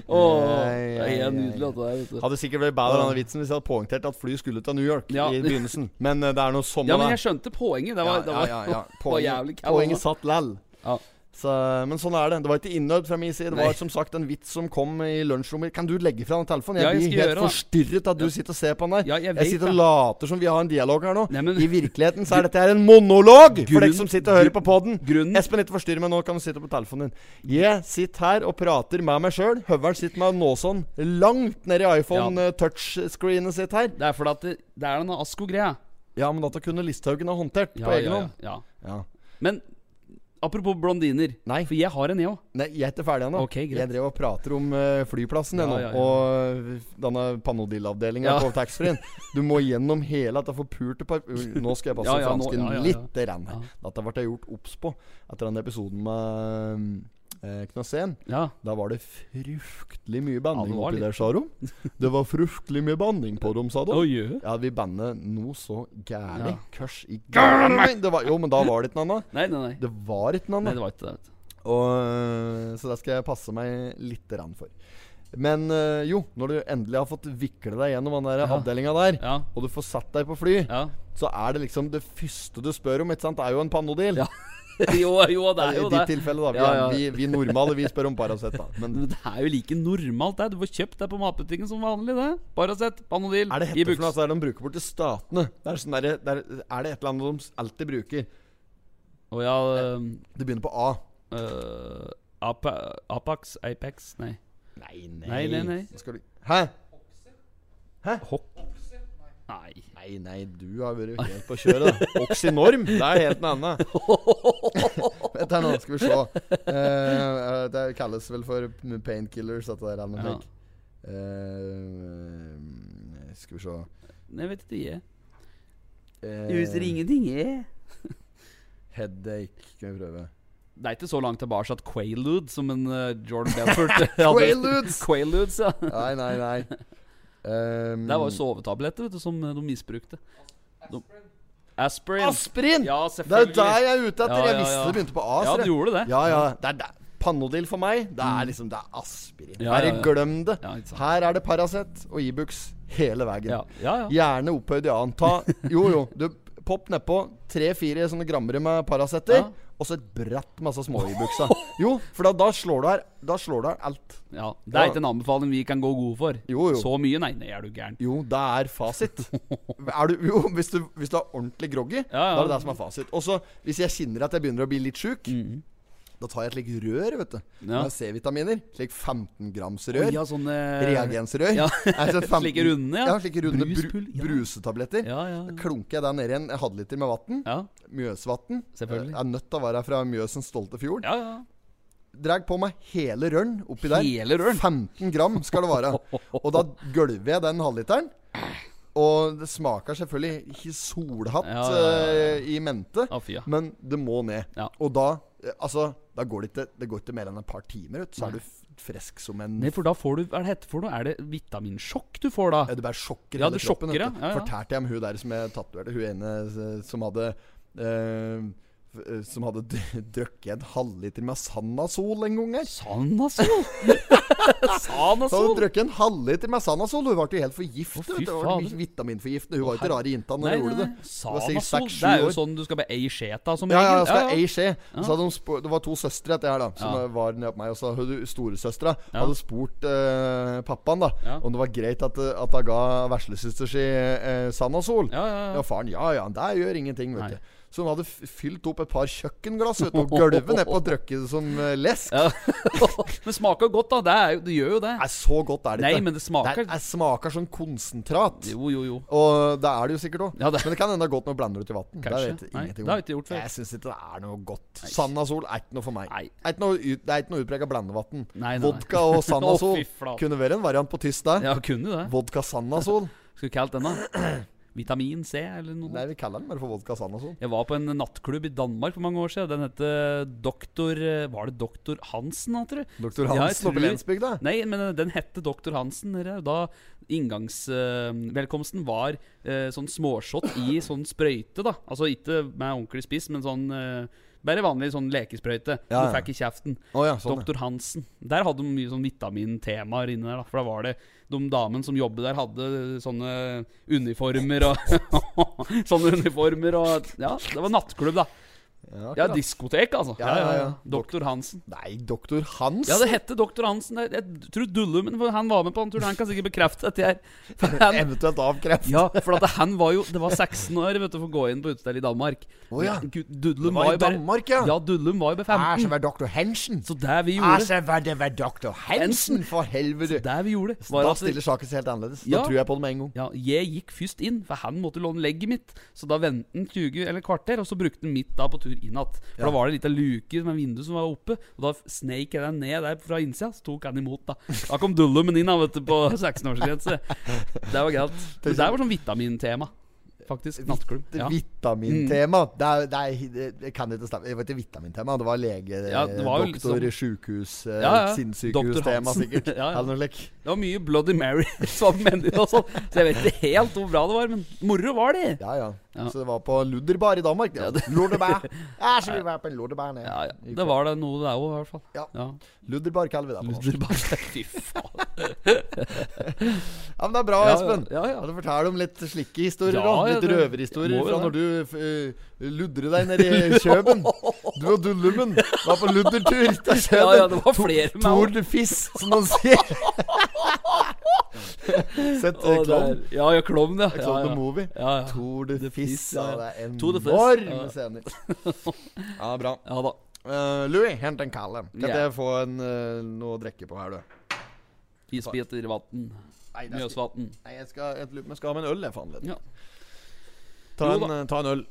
Speaker 1: Å, det er helt nydelig at det er, vet du.
Speaker 2: Hadde sikkert vært bedre denne vitsen hvis jeg hadde poengtert at flyet skulle til New York
Speaker 1: Ja.
Speaker 2: i begynnelsen. Men eh, det er noe sommer,
Speaker 1: Ja, men jeg skjønte poenget. Det var, det var, det var jævlig
Speaker 2: Poenget,
Speaker 1: kald,
Speaker 2: poenget
Speaker 1: altså.
Speaker 2: satt læll.
Speaker 1: Ja.
Speaker 2: Så, men sånn er det. Det var ikke innøvd fra min side. Det
Speaker 1: Nei.
Speaker 2: var som sagt en vits som kom i lunsjrommet. Kan du legge fra den telefonen? Jeg,
Speaker 1: Ja, jeg skal
Speaker 2: blir helt
Speaker 1: gjøre det.
Speaker 2: forstyrret av at du sitter og ser på den der.
Speaker 1: Ja, jeg vet det.
Speaker 2: sitter og later som vi har en dialog her nå.
Speaker 1: Nei, men-
Speaker 2: I virkeligheten så er dette her en monolog for
Speaker 1: Grunnen-
Speaker 2: deg som sitter og hører på poden.
Speaker 1: grunnen-
Speaker 2: Espen, ikke forstyrr meg nå. Kan du sitte på telefonen din? Jeg sitter her og prater med meg sjøl. Høveren sitter med nåsånn langt ned i iPhone
Speaker 1: Ja.
Speaker 2: ja. touchscreenet sitt her.
Speaker 1: Det er fordi at det, det er denne Asko-greia.
Speaker 2: Ja, men dette kunne Listhaugen ha håndtert
Speaker 1: Ja,
Speaker 2: på egen
Speaker 1: ja,
Speaker 2: hånd.
Speaker 1: ja,
Speaker 2: Ja.
Speaker 1: ja. Men apropos blondiner.
Speaker 2: Nei.
Speaker 1: For jeg har en, jeg òg.
Speaker 2: Nei, jeg er ikke ferdig ennå.
Speaker 1: Ok, greit.
Speaker 2: jeg drev og prater om eh, flyplassen
Speaker 1: Ja,
Speaker 2: ennå.
Speaker 1: ja, ja.
Speaker 2: Og denne Panodil-avdelinga
Speaker 1: Ja.
Speaker 2: på taxfree-en. Du må gjennom hele dette forpurte par... Nå skal jeg passe
Speaker 1: Ja, ja, nå-
Speaker 2: fransken
Speaker 1: ja, ja, ja.
Speaker 2: litt. Rann.
Speaker 1: Ja.
Speaker 2: Dette ble jeg gjort obs på etter den episoden med eh, Knasén.
Speaker 1: Ja.
Speaker 2: Da var det fruktelig mye
Speaker 1: Ja, det
Speaker 2: banning
Speaker 1: var
Speaker 2: oppi
Speaker 1: litt.
Speaker 2: der, sa de. Det var fruktelig mye banning på dem, sa de.
Speaker 1: Å, jø.
Speaker 2: Ja, vi bandet noe så gærlig.
Speaker 1: Ja.
Speaker 2: Kørs i gærlig! Det var- Jo, men da var det ikke noe annet.
Speaker 1: Nei, nei, nei.
Speaker 2: Det var ikke noe annet.
Speaker 1: Nei, det var ikke det. Vet du.
Speaker 2: Og, øh, så det skal jeg passe meg litt rann for. Men øh, jo, når du endelig har fått vikle deg gjennom den der
Speaker 1: Ja.
Speaker 2: avdelinga der,
Speaker 1: Ja.
Speaker 2: og du får satt deg på fly,
Speaker 1: Ja.
Speaker 2: så er det liksom det første du spør om, ikke sant? Det er jo en Panodil.
Speaker 1: Ja, Jo, jo, det er
Speaker 2: I
Speaker 1: jo
Speaker 2: ditt
Speaker 1: det.
Speaker 2: tilfelle, da. Vi,
Speaker 1: Ja,
Speaker 2: er-
Speaker 1: ja. Mm.
Speaker 2: Vi, vi normale, vi spør om Paracet, da. Men
Speaker 1: Men det er jo like normalt, det. Du får kjøpt det på matbutikken som vanlig, det. Paracet, Panodil,
Speaker 2: er det
Speaker 1: i
Speaker 2: hette for
Speaker 1: buks.
Speaker 2: noe? Altså, er det de bruker bort til statene? Det er, sånn der, det er, er det et eller annet de alltid bruker?
Speaker 1: Å ja øhm,
Speaker 2: Det begynner på A.
Speaker 1: øh, Apa, Apax? Apex? Nei.
Speaker 2: Nei,
Speaker 1: Nei, nei, nei.
Speaker 2: Skal du... Hæ?
Speaker 1: Hock? Nei.
Speaker 2: Nei, nei, du har vært helt på kjøret. da. Oxynorm, det er helt noe annet. Vent her nå, skal vi se. Eh, det kalles vel for painkillers, dette der. Eller noe
Speaker 1: Ja.
Speaker 2: slik. Eh, skal vi se
Speaker 1: Nei, vet ikke jeg.
Speaker 2: Eh,
Speaker 1: Jeg husker ingenting, jeg.
Speaker 2: Headache, skal vi prøve.
Speaker 1: Det er ikke så langt tilbake at Quaalude, som en eh, Jordan Belfort hadde-
Speaker 2: Quaaludes!
Speaker 1: Quaaludes, ja.
Speaker 2: Nei, nei, nei. Um,
Speaker 1: Det var jo sovetabletter vet du, som eh, de misbrukte. De- Aspirin.
Speaker 2: Eh, Aspirin!
Speaker 1: Ja,
Speaker 2: det er
Speaker 1: selvfølgelig.
Speaker 2: jo der jeg er ute etter.
Speaker 1: Ja,
Speaker 2: Jeg
Speaker 1: ja,
Speaker 2: visste
Speaker 1: ja.
Speaker 2: det begynte på A.
Speaker 1: Ja,
Speaker 2: ser jeg.
Speaker 1: du gjorde det.
Speaker 2: Ja, ja. Det er der. Panodil for meg, det er liksom Det er aspirin.
Speaker 1: Ja,
Speaker 2: Bare
Speaker 1: ja, ja.
Speaker 2: glem det.
Speaker 1: Ja, ikke sant.
Speaker 2: Her er det Paracet og Ibux hele veien.
Speaker 1: Ja, ja. ja.
Speaker 2: Gjerne opphøyd i annen. Ta Jo, jo. Du, Popp nedpå tre-fire sånne grammer med Paracetter.
Speaker 1: Ja.
Speaker 2: Og så et bratt masse små i buksa. Jo, for da, da slår du her Da slår du her alt.
Speaker 1: Ja, Det er
Speaker 2: Ja.
Speaker 1: ikke en anbefaling vi kan gå god for.
Speaker 2: Jo, jo.
Speaker 1: Så mye? Nei, nei, er du gæren.
Speaker 2: Jo, det er fasit. Er du, jo, hvis du, hvis du er ordentlig groggy,
Speaker 1: ja.
Speaker 2: da er det det som er fasit. Og så, hvis jeg kjenner at jeg begynner å bli litt sjuk, da tar jeg et slikt rør, vet du.
Speaker 1: Mhm. Ja.
Speaker 2: Med C-vitaminer. Slik 15 grams
Speaker 1: Oi,
Speaker 2: rør.
Speaker 1: ja, sånn, eh, sånne
Speaker 2: Reagensrør.
Speaker 1: Ja.
Speaker 2: Er sånn
Speaker 1: Slike runde, ja.
Speaker 2: ja. slike runde bru,
Speaker 1: Bruspull, ja.
Speaker 2: brusetabletter.
Speaker 1: Ja, ja, ja.
Speaker 2: Da klunker jeg der nede i en halvliter med vann.
Speaker 1: Ja,
Speaker 2: Mjøsvatn.
Speaker 1: Selvfølgelig.
Speaker 2: Jeg er nødt til å være her fra Mjøsens stolte fjord.
Speaker 1: ja. ja.
Speaker 2: Dreg på meg hele røren oppi der.
Speaker 1: Hele røren?
Speaker 2: 15 gram skal det være. Og da gølver jeg den halvliteren. Og det smaker selvfølgelig ikke solhatt
Speaker 1: Ja, ja, ja, ja.
Speaker 2: eh, i mente,
Speaker 1: Å, fy, ja.
Speaker 2: men det må ned.
Speaker 1: Ja.
Speaker 2: Og da eh, Altså, da går det ikke Det går ikke mer enn et par timer, ut, så er du f- frisk som en
Speaker 1: Nei, for da får du Hva er det hette for noe? Er det vitaminsjokk du får da?
Speaker 2: Ja, du bare sjokker
Speaker 1: Ja,
Speaker 2: hele
Speaker 1: du
Speaker 2: kroppen.
Speaker 1: sjokker,
Speaker 2: vet du.
Speaker 1: ja, ja, ja.
Speaker 2: Fortalte jeg om hun der som jeg tatoverte, hun ene eh, som hadde eh, f- eh, Som hadde d- drukket en halvliter med Sanasol en gang her.
Speaker 1: Sanasol!
Speaker 2: Så hadde hun
Speaker 1: Sanasol!
Speaker 2: drukket en halvliter med Sanasol. Hun ble jo helt forgiftet.
Speaker 1: Å, fy
Speaker 2: vet du. Hun var
Speaker 1: fader.
Speaker 2: vi- vitaminforgiftende. Hun var ikke rar i jenta når hun gjorde det. Hun var sikkert
Speaker 1: Sanasol.
Speaker 2: seks,
Speaker 1: Det er
Speaker 2: sju
Speaker 1: jo
Speaker 2: år.
Speaker 1: sånn du skal bli ei skje av som
Speaker 2: Ja, ja, jeg
Speaker 1: regel.
Speaker 2: skal ha ei skje. Og Så
Speaker 1: Ja.
Speaker 2: hadde hun spurt, det var to søstre etter her, da, som
Speaker 1: Ja.
Speaker 2: var nede på meg. Og så hadde hun- storesøstera
Speaker 1: Ja.
Speaker 2: hadde spurt eh, pappaen da
Speaker 1: Ja.
Speaker 2: om det var greit at, eh, at hun ga veslesøster si eh, Sanasol.
Speaker 1: Ja, ja, ja.
Speaker 2: Ja, faren, ja ja, det gjør ingenting,
Speaker 1: Nei.
Speaker 2: vet du. Så hun hadde f- fylt opp et par kjøkkenglass vet du, og gulvet nedpå og drukket det som eh, lesk.
Speaker 1: Men smaker godt, da. Det, er, jo- det gjør jo det.
Speaker 2: Nei, så godt er det
Speaker 1: Nei,
Speaker 2: ikke.
Speaker 1: men det smaker-
Speaker 2: Det er- det smaker sånn konsentrat.
Speaker 1: Jo, jo, jo.
Speaker 2: Og det er det jo sikkert òg.
Speaker 1: Ja, det-
Speaker 2: Men det kan hende det er godt når du blander det ut i vann. Det
Speaker 1: Kanskje.
Speaker 2: vet jeg
Speaker 1: Nei,
Speaker 2: ingenting
Speaker 1: det har jeg ikke gjort før.
Speaker 2: Jeg syns ikke det er noe godt. Sandasol er ikke noe for meg.
Speaker 1: Nei.
Speaker 2: Det er ikke noe, ut- det er ikke noe utprega blandevann.
Speaker 1: Nei, nei, nei.
Speaker 2: Vodka og Sandasol
Speaker 1: Å, fy flate.
Speaker 2: kunne vært en variant på tysk der.
Speaker 1: Ja, kunne jo det.
Speaker 2: Vodka Sandasol.
Speaker 1: Skulle kalt den da Vitamin C eller noe.
Speaker 2: Nei, vi kaller den bare for vodka Sandasol.
Speaker 1: Jeg var på en nattklubb i Danmark for mange år siden. Den het Doktor Var det Doktor Hansen, da, tror jeg?
Speaker 2: Doktor
Speaker 1: Ja, jeg
Speaker 2: Hansen oppe i
Speaker 1: tror-
Speaker 2: Lensbygda.
Speaker 1: Nei, men eh, den hette Doktor Hansen. dere. Da inngangsvelkomsten var eh, sånn småshot i sånn sprøyte, da. Altså ikke med ordentlig spiss, men sånn eh, bare vanlig sånn lekesprøyte.
Speaker 2: Ja,
Speaker 1: Du
Speaker 2: ja.
Speaker 1: fikk i kjeften.
Speaker 2: Å ja, sånn, ja.
Speaker 1: Doktor Hansen. Der hadde de mye sånn vitamintemaer inne der, da. For da var det de damene som jobbet der, hadde sånne uniformer og Sånne uniformer og Ja, det var nattklubb, da. Ja,
Speaker 2: akkurat.
Speaker 1: diskotek, altså.
Speaker 2: Ja, ja, ja.
Speaker 1: Doktor Hansen.
Speaker 2: Nei, doktor Hans?
Speaker 1: Ja, det hette doktor Hansen. Jeg, jeg tror Dullumen for han var med på den turen. Han kan sikkert bekrefte dette her. For han,
Speaker 2: Eventuelt avkreft.
Speaker 1: ja, for at han var jo Det var 16 år vet du, for å gå inn på utested i Danmark.
Speaker 2: Å ja.
Speaker 1: Gud, Dudlum
Speaker 2: Det var
Speaker 1: var,
Speaker 2: i
Speaker 1: jo bare
Speaker 2: Danmark, ja.
Speaker 1: Ja, Dudlum var jo bare 15.
Speaker 2: Æsj, det var doktor Hensen.
Speaker 1: Så det vi
Speaker 2: Æsj,
Speaker 1: gjorde,
Speaker 2: det var- det var doktor Hensen, for helvete.
Speaker 1: det vi gjorde var
Speaker 2: Da
Speaker 1: at
Speaker 2: stiller saken seg helt annerledes. Da
Speaker 1: Ja.
Speaker 2: tror jeg på det med en gang.
Speaker 1: ja, jeg gikk først inn, for han måtte låne legget mitt. Så da ventet han 20 eller kvarter, og så brukte han mitt da på tur inn igjen. For da var det en liten luke med vindu som var oppe, og da sneik jeg den ned der fra innsida, så tok han imot, da. Da kom dullumen inn, da, vet du, på 16-årsgrense. Det var greit. Men det var sånn vitamintema, faktisk. Nattklubb.
Speaker 2: Det
Speaker 1: Ja. Mm.
Speaker 2: Vitamintema. Det, er- det, er- det- det kan ikke stemme. Det var ikke vitamintema, det var lege...
Speaker 1: Ja, det var jo
Speaker 2: doktor,
Speaker 1: liksom-
Speaker 2: sjukehus, eh,
Speaker 1: Ja, ja. Doktor
Speaker 2: sinnssykehus-tema,
Speaker 1: Hansen.
Speaker 2: sikkert.
Speaker 1: Ja, ja.
Speaker 2: Eller noe lik.
Speaker 1: Det var mye Bloody Mary som menu og sånn, så jeg vet ikke helt hvor bra det var, men moro var det.
Speaker 2: Ja, ja,
Speaker 1: Ja.
Speaker 2: Så det var på Ludderbar i Danmark. Ja. Lordebar. Ja, så vi var på en Lordebar nede.
Speaker 1: Ja, ja. Det var det noe der òg, i hvert fall.
Speaker 2: Ja.
Speaker 1: Ja.
Speaker 2: Ludderbar kaller vi det på norsk.
Speaker 1: Bare, fy faen.
Speaker 2: Ja, men det er bra,
Speaker 1: Ja,
Speaker 2: Espen.
Speaker 1: ja, ja.
Speaker 2: Kan du fortelle om litt slike historier?
Speaker 1: Ja,
Speaker 2: da?
Speaker 1: ja,
Speaker 2: Litt
Speaker 1: det-
Speaker 2: røverhistorier
Speaker 1: må jo
Speaker 2: fra
Speaker 1: det.
Speaker 2: når du uh, ludrer deg ned i Kjøben. Du og Dullummen var på luddertur til Kjøben.
Speaker 1: Ja, ja, det var flere med
Speaker 2: Tor
Speaker 1: han.
Speaker 2: de Fiss, som han sier. Sett
Speaker 1: Å,
Speaker 2: eh, klovn.
Speaker 1: der. Ja, ja, klovn, ja.
Speaker 2: Klovn
Speaker 1: ja,
Speaker 2: the
Speaker 1: ja.
Speaker 2: movie.
Speaker 1: Ja, ja.
Speaker 2: Tor de
Speaker 1: The
Speaker 2: Fiss.
Speaker 1: Fizz,
Speaker 2: Ja,
Speaker 1: ja,
Speaker 2: det er
Speaker 1: Tour de Fizz,
Speaker 2: enorme
Speaker 1: ja.
Speaker 2: scener. Ja, bra.
Speaker 1: Ja da.
Speaker 2: Eh, Louis, hent en kalle. Kan
Speaker 1: Ja.
Speaker 2: jeg få en, eh, noe å drikke på her, du?
Speaker 1: Isbiter, vann,
Speaker 2: Nei, det skal-
Speaker 1: Mjøsvatn.
Speaker 2: Nei, jeg skal, jeg, lurer på om jeg skal ha med en øl, jeg, faen. vet du.
Speaker 1: Ja.
Speaker 2: Ta,
Speaker 1: Jo
Speaker 2: en, eh, ta en øl.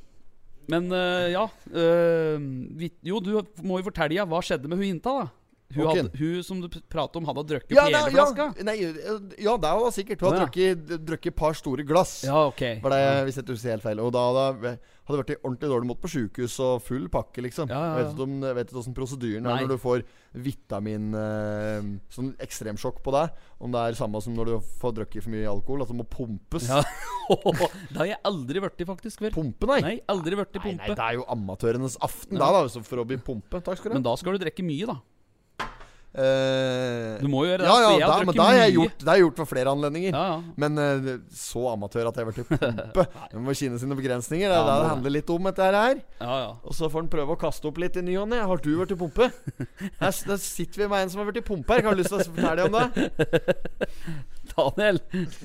Speaker 1: Men eh, ja eh, vi, Jo, du må jo fortelle ja, hva skjedde med hun jenta, da. Hun,
Speaker 2: Ok.
Speaker 1: hadde, hun som du p- pratet om, hadde drukket
Speaker 2: Ja,
Speaker 1: opp hele
Speaker 2: det-
Speaker 1: flaska?
Speaker 2: ja, nei, ja, det var sikkert. Hun
Speaker 1: Å,
Speaker 2: hadde
Speaker 1: ja.
Speaker 2: drukket, drukket et par store glass.
Speaker 1: Ja, ok.
Speaker 2: Var det, hvis jeg ikke husker helt feil. Og da, da hadde vært i ordentlig dårlig mot på sjukehus og full pakke, liksom.
Speaker 1: Ja, ja, ja.
Speaker 2: Jeg Vet ikke om- jeg vet ikke åssen prosedyren
Speaker 1: Nei.
Speaker 2: er når du får vitamin eh, Sånn ekstremsjokk på deg. Om det er samme som når du får drukket for mye alkohol, at det må pumpes.
Speaker 1: Ja. det har jeg aldri vært i, faktisk. Før.
Speaker 2: Pumpe, nei.
Speaker 1: Nei, aldri vært i
Speaker 2: Nei, nei,
Speaker 1: pumpe.
Speaker 2: det er jo amatørenes aften da, da, altså, for å bli pumpe. Takk skal du
Speaker 1: Men
Speaker 2: ha.
Speaker 1: da skal du drikke mye, da.
Speaker 2: Eh,
Speaker 1: Du må gjøre det,
Speaker 2: Ja, ja,
Speaker 1: for jeg har
Speaker 2: det, men
Speaker 1: drukket
Speaker 2: det har jeg
Speaker 1: mye.
Speaker 2: gjort, det har jeg gjort ved flere anledninger.
Speaker 1: Ja, ja.
Speaker 2: Men eh, så amatør at jeg har blitt pumpe. Man må kjenne sine begrensninger. Det er det det handler litt om, dette her.
Speaker 1: ja, ja.
Speaker 2: Og så får han prøve å kaste opp litt i ny og ne. Har du vært i pumpe? Her s- der sitter vi med en som har vært i pumpe her. Har du lyst til å fortelle om det?
Speaker 1: Daniel,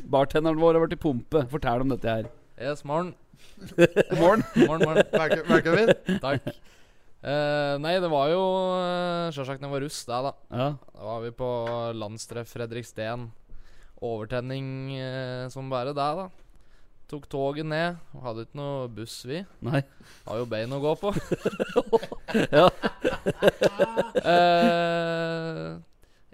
Speaker 1: bartenderen vår har vært i pumpe. Fortell om dette her.
Speaker 6: Yes, morgen.
Speaker 2: Morgen.
Speaker 6: Morgen, morgen.
Speaker 2: Merker merker vi det?
Speaker 6: Takk. Eh, nei, det var jo eh, sjølsagt når jeg var russ, det, da.
Speaker 1: Ja.
Speaker 6: Da var vi på landstreff Fredriksten. Overtenning eh, som bare det, da. Tok toget ned. Hadde ikke noe buss, vi.
Speaker 1: Nei.
Speaker 6: Har jo bein å gå på.
Speaker 1: Ja.
Speaker 6: Eh,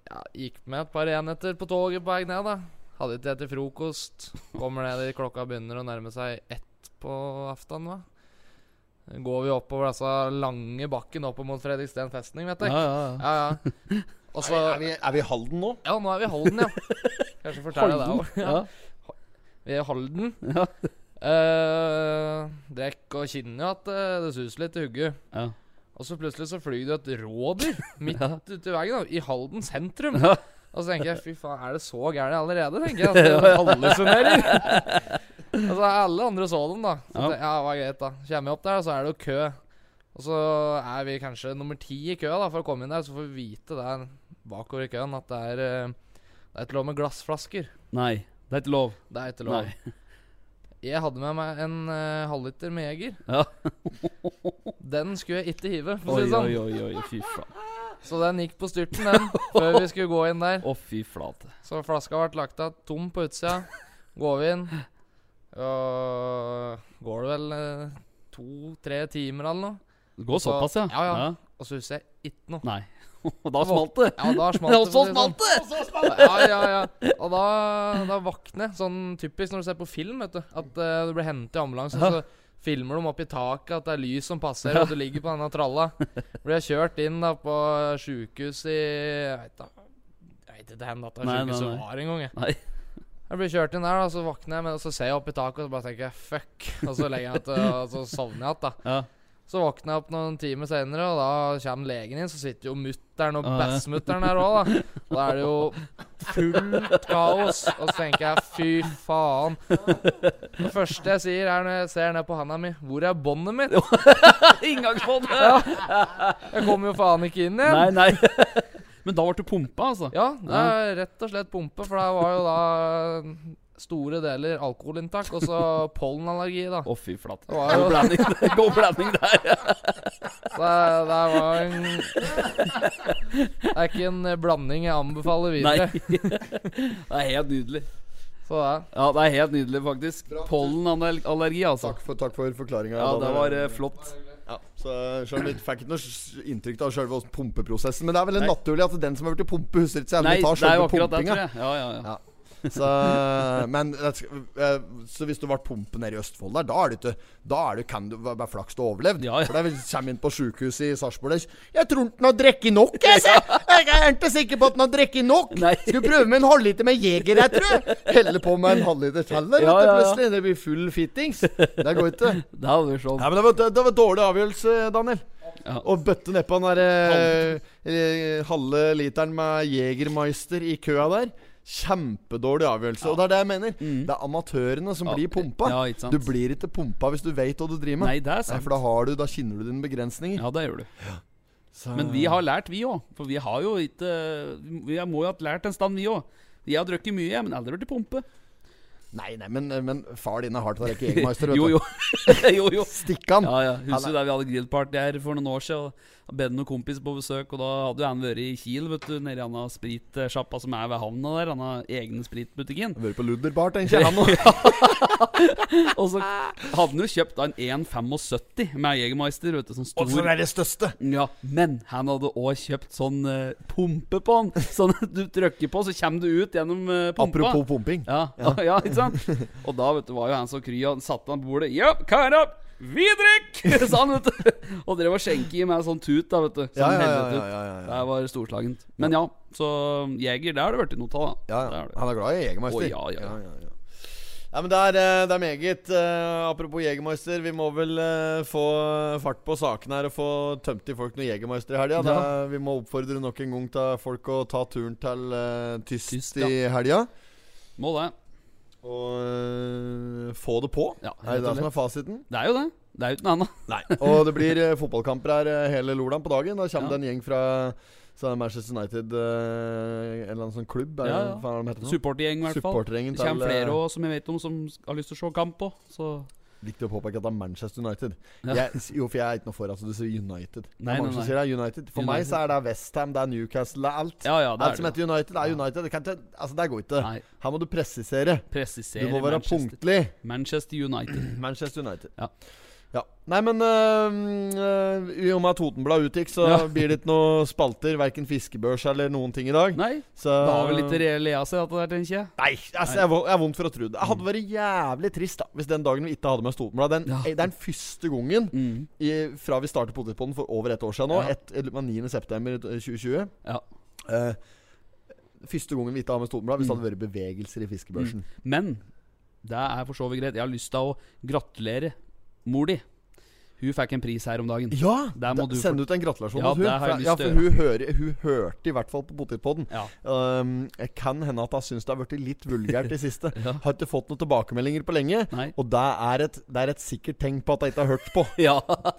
Speaker 6: ja, gikk med et par enheter på toget på vei ned, da. Hadde ikke etter frokost. Kommer ned i klokka begynner å nærme seg ett på aften, da. Går vi oppover disse lange bakken opp mot Fredriksten festning, vet
Speaker 1: Ja,
Speaker 6: jeg.
Speaker 1: ja, ja.
Speaker 6: Ja, ja. Og så
Speaker 2: Er vi, er vi i Halden nå?
Speaker 6: Ja, nå er vi i Halden, ja. Kanskje fortelle deg òg.
Speaker 1: Ja.
Speaker 6: Vi er i Halden.
Speaker 1: Ja.
Speaker 6: Eh, Drekk og kjenner at eh, det suser litt i hugget.
Speaker 1: Ja.
Speaker 6: Og så plutselig så flyr det et rådyr midt
Speaker 1: Ja.
Speaker 6: ute i veien, da, i Halden sentrum.
Speaker 1: Ja.
Speaker 6: Og så tenker jeg fy faen, er det så gærent allerede? tenker jeg, at det hallusinerer. altså, alle andre så dem, da. Så
Speaker 1: Ja.
Speaker 6: tenker jeg, ja, det var greit, da. Kommer jeg opp der, så er det jo kø. Og så er vi kanskje nummer ti i køa da, for å komme inn der, så får vi vite der bakover i køen at det er eh, Det er ikke lov med glassflasker.
Speaker 1: Nei, det er ikke lov.
Speaker 6: Det er ikke lov.
Speaker 1: Nei.
Speaker 6: Jeg hadde med meg en eh, halvliter med Jeger.
Speaker 1: Ja.
Speaker 6: Den skulle jeg ikke hive, for å
Speaker 1: Oi,
Speaker 6: si det sånn.
Speaker 1: oi, oi, oi, fy faen.
Speaker 6: Så den gikk på styrten, den, før vi skulle gå inn der.
Speaker 1: Å, fy flate.
Speaker 6: Så flaska ble lagt av tom på utsida. Går vi inn, og går det vel to-tre timer eller noe.
Speaker 1: Det går
Speaker 6: Så-
Speaker 1: såpass, ja.
Speaker 6: ja, ja. Og så husker jeg ikke noe.
Speaker 1: Nei. Og da smalt det.
Speaker 6: Ja, da smalt det.
Speaker 1: Og så
Speaker 6: for å si det sånn.
Speaker 1: smalt det!
Speaker 6: Ja, ja, ja. Og da, da våkner jeg. Sånn typisk når du ser på film, vet du. At eh, du blir hentet i ambulansen,
Speaker 1: Ja.
Speaker 6: så filmer de opp i taket at det er lys som passer, og du ligger på denne tralla. Blir jeg kjørt inn da på sjukehus i Jeg vet da Jeg vet ikke hvor dette
Speaker 1: Nei, nei,
Speaker 6: sjukehuset
Speaker 1: nei.
Speaker 6: var engang. jeg.
Speaker 1: Nei.
Speaker 6: Jeg blir kjørt inn der, da, så våkner jeg, men så ser jeg opp i taket og så bare tenker jeg, fuck. Og så legger jeg meg til, og så sovner jeg igjen, da.
Speaker 1: Ja.
Speaker 6: Så våkner jeg opp noen timer senere, og da kommer legen inn. Så sitter jo mutter'n og
Speaker 1: Ah, Ja, ja.
Speaker 6: bassmutter'n her òg, da. Og da er det jo fullt kaos. Og så tenker jeg fy faen. Det første jeg sier, er når jeg ser ned på handa mi, hvor er båndet mitt?
Speaker 1: Inngangsbånd!
Speaker 6: Jeg kommer jo faen ikke inn
Speaker 1: Nei,
Speaker 6: igjen.
Speaker 1: nei. Men da ble du pumpa, altså?
Speaker 6: Ja, det er rett og slett pumpe, for det var jo da store deler alkoholinntak, og så pollenallergi, da.
Speaker 1: Å, fy flate.
Speaker 6: Det var jo
Speaker 1: God blanding, God blanding der.
Speaker 6: Det, det var en Det er ikke en blanding jeg anbefaler
Speaker 1: Nei.
Speaker 6: videre.
Speaker 1: Det er helt nydelig.
Speaker 6: Så det er
Speaker 1: Ja, det er helt nydelig, faktisk. Pollenallergi, altså.
Speaker 2: Takk for, takk for forklaringa.
Speaker 1: Ja, det var eh, flott.
Speaker 2: Ja, så selv om vi fikk ikke noe s- inntrykk av selve pumpeprosessen. Men det er vel naturlig at den som har vært i pumpe, husker ikke så jævlig
Speaker 1: Nei,
Speaker 2: mye
Speaker 1: det
Speaker 2: tar
Speaker 1: er jo
Speaker 2: selve
Speaker 1: akkurat det, tror
Speaker 2: pumpinga.
Speaker 1: jeg. Ja, ja, ja.
Speaker 2: Ja. Så, men, det sk- eh, så hvis du ble pumpe nede i Østfold der, da er det ikke Da er det, kan du være flaks du har overlevd.
Speaker 1: Ja, ja.
Speaker 2: For da kommer inn på sjukehuset i Sarpsborg der, Jeg tror ikke han har drukket nok, jeg, se! Jeg er ikke sikker på at han har drukket nok!
Speaker 1: Nei.
Speaker 2: Skal prøve med en halvliter med Jeger, jeg tror! Helle på med en halvliter til der,
Speaker 1: Ja,
Speaker 2: vet du,
Speaker 1: ja, ja.
Speaker 2: plutselig. Det blir full fittings. Det går ikke.
Speaker 1: Det hadde vært sånn.
Speaker 2: Nei, men det var, det, det var dårlig avgjørelse, Daniel.
Speaker 1: Ja.
Speaker 2: Å bøtte nedpå den derre eh, halve literen med Jegermeister i køa der. Kjempedårlig avgjørelse. Og det er det jeg mener. Det er amatørene som
Speaker 1: Mm. Ja.
Speaker 2: blir pumpa.
Speaker 1: Ja, ikke sant.
Speaker 2: Du blir ikke pumpa hvis du veit hva du driver med.
Speaker 1: Nei, det er
Speaker 2: Nei,
Speaker 1: sant.
Speaker 2: for da, har du, da kjenner du dine begrensninger.
Speaker 1: Ja, det gjør du.
Speaker 2: Så-
Speaker 1: Men vi har lært, vi òg. For vi har jo ikke eh, Vi må jo ha lært en stand, vi òg. Jeg har drukket mye, jeg, men aldri vært i pumpe.
Speaker 2: Nei, nei, men, men far din er hardt å rekke Jegermeister, vet
Speaker 1: Jo, jo.
Speaker 2: du.
Speaker 1: jo, jo.
Speaker 2: Stikk han.
Speaker 1: Ja, ja. Husker du da vi hadde grillparty her for noen år siden? Og Benny og kompis på besøk, og da hadde jo han vært i Kiel, vet du, nede i anna spritsjappa som er ved havna der. Han har egne spritbutikken.
Speaker 2: Vært på Ludderbar, tenker jeg. Han nå.
Speaker 1: Og så hadde han jo kjøpt en 1,75 med Jegermeister, vet du, sånn
Speaker 2: Og så
Speaker 1: stor.
Speaker 2: er det største.
Speaker 1: Ja, men han hadde også kjøpt sånn eh, pumpe på han. Sånn at du trykker på, så kommer du ut gjennom eh, pumpa.
Speaker 2: Apropos pumping.
Speaker 1: Ja, ja. ikke sant? Og da vet du, var jo han så kry, og han satte han på bordet. Ja, kara, vi drikker! sa han, vet du. Og drev og skjenket i meg en sånn tut, da, vet du. Som
Speaker 2: Ja, ja, ja,
Speaker 1: helvete ut.
Speaker 2: ja, ja, ja, ja.
Speaker 1: Det her var storslagent. Men ja, så Jeger, det har det blitt noe av, da.
Speaker 2: Ja,
Speaker 1: Det
Speaker 2: ja.
Speaker 1: er det.
Speaker 2: Han er glad i Jegermeister.
Speaker 1: Å, ja, ja, ja.
Speaker 2: ja, ja. Ja, men det er, eh, det er meget. Eh, apropos Jegermeister, vi må vel eh, få fart på sakene her og få tømt til folk noen Jegermeister i helga. Det er- Vi må oppfordre nok en gang til folk å ta turen til eh, Tyst,
Speaker 1: Tyst,
Speaker 2: i helga.
Speaker 1: Må det.
Speaker 2: Og eh, få det på.
Speaker 1: Ja,
Speaker 2: er det det som er fasiten?
Speaker 1: Det er jo det. Det er uten annet.
Speaker 2: Nei. og det blir eh, fotballkamper her eh, hele lordagen på dagen. Da
Speaker 1: Ja.
Speaker 2: kommer det en gjeng fra så er det Manchester United, eh, en eller annen sånn klubb, er det
Speaker 1: Ja, ja.
Speaker 2: hva faen er det de heter nå?
Speaker 1: Supportergjeng, i hvert fall.
Speaker 2: Supportergjengen
Speaker 1: Det kommer
Speaker 2: eh,
Speaker 1: flere også, som jeg vet om, som har lyst til å se kamp på. Så
Speaker 2: Viktig å påpeke at det er Manchester United.
Speaker 1: Ja.
Speaker 2: Jeg, jo, for jeg er ikke noe for altså, du sier United. Det er
Speaker 1: Nei,
Speaker 2: mange
Speaker 1: nei,
Speaker 2: som
Speaker 1: nei.
Speaker 2: sier det er United. For meg
Speaker 1: United.
Speaker 2: så er det Westham, det er Newcastle, det er alt.
Speaker 1: Ja, ja, det
Speaker 2: alt
Speaker 1: er
Speaker 2: som
Speaker 1: det.
Speaker 2: heter United, er United. Det, kan ikke, altså, det går ikke.
Speaker 1: Nei.
Speaker 2: Her må du presisere. Du
Speaker 1: Presiserer
Speaker 2: må være
Speaker 1: Manchester.
Speaker 2: punktlig.
Speaker 1: Manchester United.
Speaker 2: Manchester United.
Speaker 1: Ja.
Speaker 2: Ja. Nei, men øh, øh, i og med at Totenbladet utgikk, så
Speaker 1: Ja.
Speaker 2: blir det ikke noe spalter. Verken fiskebørs eller noen ting i dag.
Speaker 1: Nei,
Speaker 2: Så
Speaker 1: det har vel
Speaker 2: Eh.
Speaker 1: litt reell lea seg, dette der, tenker jeg.
Speaker 2: Nei, altså, jeg, er vo- jeg er vondt for å tro det. Det hadde vært jævlig trist da hvis den dagen vi ikke hadde med oss Totenbladet den,
Speaker 1: Mm. Ja.
Speaker 2: Det er den første gangen
Speaker 1: Mm.
Speaker 2: i, fra vi startet Potetpodden for over et år siden nå,
Speaker 1: Ja.
Speaker 2: et, eller, 9. september 2020
Speaker 1: Ja.
Speaker 2: eh, Første gangen vi ikke har med Stormblad, hvis det hadde vært bevegelser i fiskebørsen.
Speaker 1: Men det er for så vidt greit. Jeg har lyst til å gratulere mor di. Hun fikk en pris her om dagen.
Speaker 2: Ja!
Speaker 1: Der må
Speaker 2: da-
Speaker 1: du
Speaker 2: Send ut en gratulasjon
Speaker 1: Ja,
Speaker 2: til hun.
Speaker 1: det har jeg
Speaker 2: for-
Speaker 1: lyst
Speaker 2: ja,
Speaker 1: til å
Speaker 2: for hun, hører, hun hørte i hvert fall på Potetpodden.
Speaker 1: Ja.
Speaker 2: Um, jeg kan hende at hun syns det har blitt litt vulgært i siste.
Speaker 1: Ja.
Speaker 2: Har ikke fått noen tilbakemeldinger på lenge.
Speaker 1: Nei.
Speaker 2: Og det er, et, det er et sikkert tegn på at hun ikke har hørt på.
Speaker 1: Ja,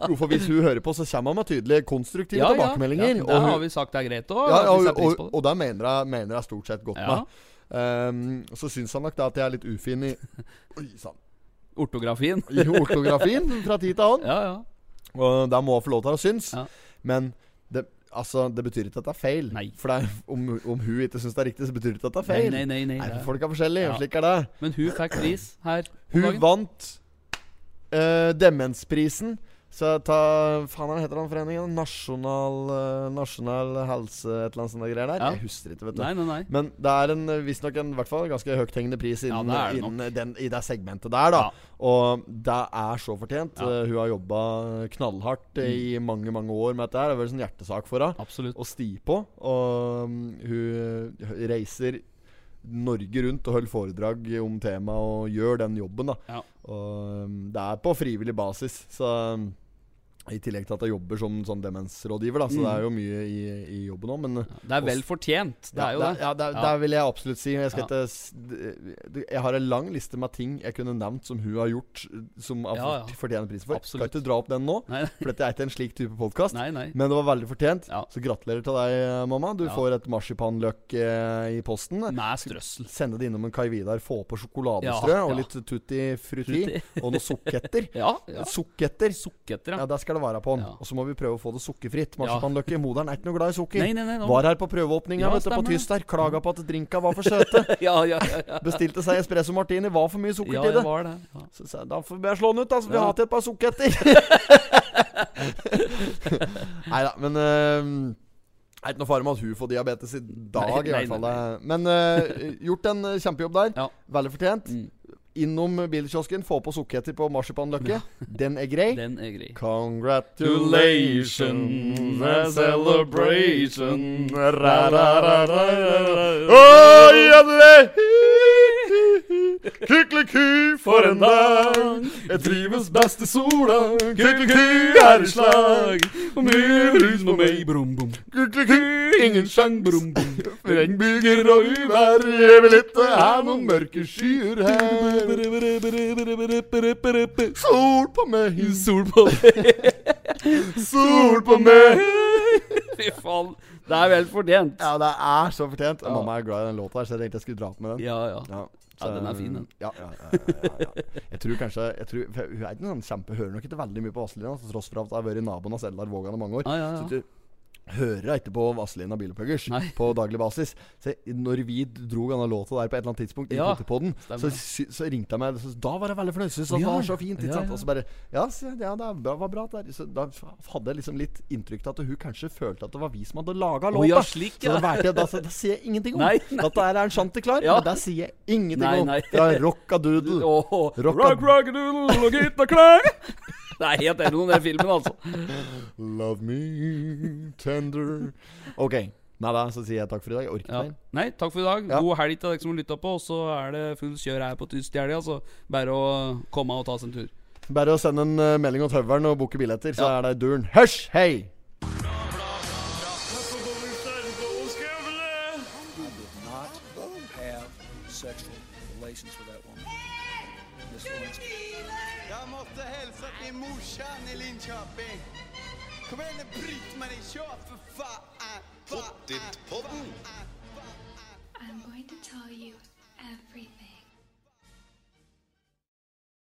Speaker 2: Jo, for hvis hun hører på, så kommer hun med tydelige, konstruktive
Speaker 1: ja,
Speaker 2: tilbakemeldinger.
Speaker 1: Ja,
Speaker 2: og
Speaker 1: der
Speaker 2: hun,
Speaker 1: har vi sagt det er greit òg.
Speaker 2: ja, og,
Speaker 1: pris
Speaker 2: og,
Speaker 1: på det.
Speaker 2: og der mener jeg, mener jeg stort sett godt
Speaker 1: Ja.
Speaker 2: med. Ehm, så syns han nok da at jeg er litt ufin i, oi, sann,
Speaker 1: Ortografien.
Speaker 2: i ortografien fra tid til annen.
Speaker 1: Ja, ja.
Speaker 2: Og der må hun få lov til å synes.
Speaker 1: Ja.
Speaker 2: Men det, altså, det betyr ikke at det er feil.
Speaker 1: Nei.
Speaker 2: For det er, om, om hun ikke syns det er riktig, så betyr det ikke at det er
Speaker 1: Nei,
Speaker 2: feil.
Speaker 1: nei, nei. nei,
Speaker 2: Nei,
Speaker 1: det-
Speaker 2: for Folk er
Speaker 1: Ja.
Speaker 2: forskjellige, og slik er det.
Speaker 1: Men hun fikk pris her. om
Speaker 2: Hun
Speaker 1: dagen.
Speaker 2: vant eh, Demensprisen. Så ta Faen, hva heter den foreningen? Nasjonal, eh, nasjonal helse Et eller annet sånt greier der.
Speaker 1: Ja.
Speaker 2: Jeg husker ikke, vet du.
Speaker 1: Nei, nei, nei.
Speaker 2: Men det er en, visstnok en i hvert fall, ganske høythengende pris
Speaker 1: Ja,
Speaker 2: innen,
Speaker 1: det er det nok.
Speaker 2: innen den, i det segmentet der. da
Speaker 1: Ja.
Speaker 2: Og det er så fortjent.
Speaker 1: Ja.
Speaker 2: Eh, hun har jobba knallhardt eh, i mange mange år med dette. her Det har vært en sånn hjertesak for henne
Speaker 1: Absolutt.
Speaker 2: å sti på. Og mm, hun eh, reiser Norge rundt og holder foredrag om temaet og gjør den jobben. da
Speaker 1: Ja.
Speaker 2: Og mm, det er på frivillig basis. Så mm, i tillegg til at jeg jobber som sånn demensrådgiver, da så
Speaker 1: Mm.
Speaker 2: det er jo mye i, i jobben òg. Men
Speaker 1: Det er vel fortjent. Det er jo
Speaker 2: ja,
Speaker 1: det.
Speaker 2: Ja, det, er-
Speaker 1: Ja.
Speaker 2: det vil jeg absolutt si. Jeg,
Speaker 1: Ja.
Speaker 2: skal ikke, s- d- jeg har en lang liste med ting jeg kunne nevnt som hun har gjort, som har
Speaker 1: Ja, ja.
Speaker 2: fått- fortjener prisen for.
Speaker 1: Absolutt.
Speaker 2: Skal ikke dra opp den nå,
Speaker 1: Nei,
Speaker 2: for dette er ikke en slik type podkast.
Speaker 1: nei. nei.
Speaker 2: Men det var veldig fortjent,
Speaker 1: Ja.
Speaker 2: så gratulerer til deg, eh, mamma. Du
Speaker 1: Ja.
Speaker 2: får et marsipanløk eh, i posten.
Speaker 1: Med strøssel.
Speaker 2: Sende det innom en Kai Vidar, få på sjokoladestrø
Speaker 1: Ja,
Speaker 2: og
Speaker 1: ja.
Speaker 2: litt tutti frutti. og noen sukketter.
Speaker 1: Ja. ja.
Speaker 2: Sukketter!
Speaker 1: Sukketer,
Speaker 2: Ja,
Speaker 1: ja.
Speaker 2: der skal det være på den.
Speaker 1: Ja.
Speaker 2: Og så må vi prøve å få det sukkerfritt.
Speaker 1: Ja.
Speaker 2: Marsipanløk i moderen er ikke noe glad i sukker.
Speaker 1: Nei, nei, nei. nå-
Speaker 2: Var her på prøveåpninga
Speaker 1: Ja,
Speaker 2: vet du, på
Speaker 1: stemmer det.
Speaker 2: tyst der. Klaga på at drinka var for søte.
Speaker 1: Ja, ja, ja. ja.
Speaker 2: Bestilte seg espresso martini. Var for mye sukker
Speaker 1: Ja,
Speaker 2: til
Speaker 1: det
Speaker 2: det.
Speaker 1: var det. Ja.
Speaker 2: Så sa jeg, da får jeg slå den ut, da. Så vi
Speaker 1: Ja.
Speaker 2: har til et par sukketter. Nei da, men øh, det er ikke noe fare med at hun får diabetes i dag,
Speaker 1: Nei,
Speaker 2: i
Speaker 1: nei,
Speaker 2: hvert fall. eh.
Speaker 1: nei,
Speaker 2: Men øh, gjort en øh, kjempejobb der.
Speaker 1: Ja.
Speaker 2: Veldig fortjent.
Speaker 1: Mm.
Speaker 2: Innom bilkiosken, få på sukketter på marsipanløkke. Den er grei.
Speaker 1: Den er grei.
Speaker 2: Congratulations and celebration. Kykeliky for en dag. Jeg trives best i sola. Kykeliky er i slag. Og mye brus på meg.
Speaker 1: brum, bum.
Speaker 2: Kykeliky, ingen sjang.
Speaker 1: Brum, bum.
Speaker 2: Regnbyger og uvær. Jeg vil ikke ha noen mørke skyer her. Sol på meg,
Speaker 1: Sol på
Speaker 2: sol på meg.
Speaker 1: Fy faen. Det er vel fortjent.
Speaker 2: Ja, det er så fortjent.
Speaker 1: Ja.
Speaker 2: Mamma er glad i den låta, her, så jeg tenkte jeg skulle dra opp med den.
Speaker 1: Ja, ja. Ja, den er fin, den.
Speaker 2: Ja, ja, ja, ja, ja. Jeg tror kanskje jeg tror, for Hun er ikke noen kjempe Hører nok ikke veldig mye på Vazelina, til tross for at jeg har vært naboen av Selda Vågan i mange år.
Speaker 1: Ja, ja,
Speaker 2: Så
Speaker 1: ja.
Speaker 2: du hører jeg ikke på Vazelina Bilopphøggers
Speaker 1: Nei.
Speaker 2: på daglig basis. Så jeg- når vi dro denne låta der på et eller annet tidspunkt, i
Speaker 1: Ja,
Speaker 2: Potipodden,
Speaker 1: stemmer
Speaker 2: så,
Speaker 1: det.
Speaker 2: sy- så ringte jeg meg så, Da var jeg veldig fornøyd. Syns det
Speaker 1: Ja,
Speaker 2: var
Speaker 1: ja.
Speaker 2: så fint.
Speaker 1: Ja,
Speaker 2: Ikke sant?
Speaker 1: ja.
Speaker 2: Og så bare Ja, sier jeg, ja det er bra, var bra. det Der. Så da hadde jeg liksom litt inntrykk av at hun kanskje følte at det var vi som hadde laga
Speaker 1: Å
Speaker 2: låta.
Speaker 1: ja, slik,
Speaker 2: Så
Speaker 1: ja.
Speaker 2: da valgte jeg, da, da sier jeg ingenting om
Speaker 1: Nei,
Speaker 2: at det her er en chanticleer.
Speaker 1: Ja.
Speaker 2: Men det sier jeg ingenting
Speaker 1: Nei,
Speaker 2: om.
Speaker 1: nei.
Speaker 2: Det er rockadoodle.
Speaker 1: Åh,
Speaker 2: Rock-
Speaker 1: rock, rock, doodle, og gutta klang. Det er helt enig om den filmen, altså.
Speaker 2: Love me tender. Ok, Med det så sier jeg takk for i dag. Jeg orker
Speaker 1: Ja.
Speaker 2: ikke mer.
Speaker 1: Nei, takk for i dag.
Speaker 2: Ja.
Speaker 1: God helg til dere som har lytta på. Og så er det fullt kjør her på tyst i helga, så bare å komme og ta seg en tur.
Speaker 2: Bare å sende en eh, melding til høvelen og booke billetter, så er det i duren. Hysj! Hei!
Speaker 3: not have sexual relations with that woman. Miss Lewinsky.
Speaker 4: Jag måste hälsa till morsan i Linköping. Kom igen nu Britt-Marie, kör för fan! Fa-
Speaker 5: I'm going to tell you.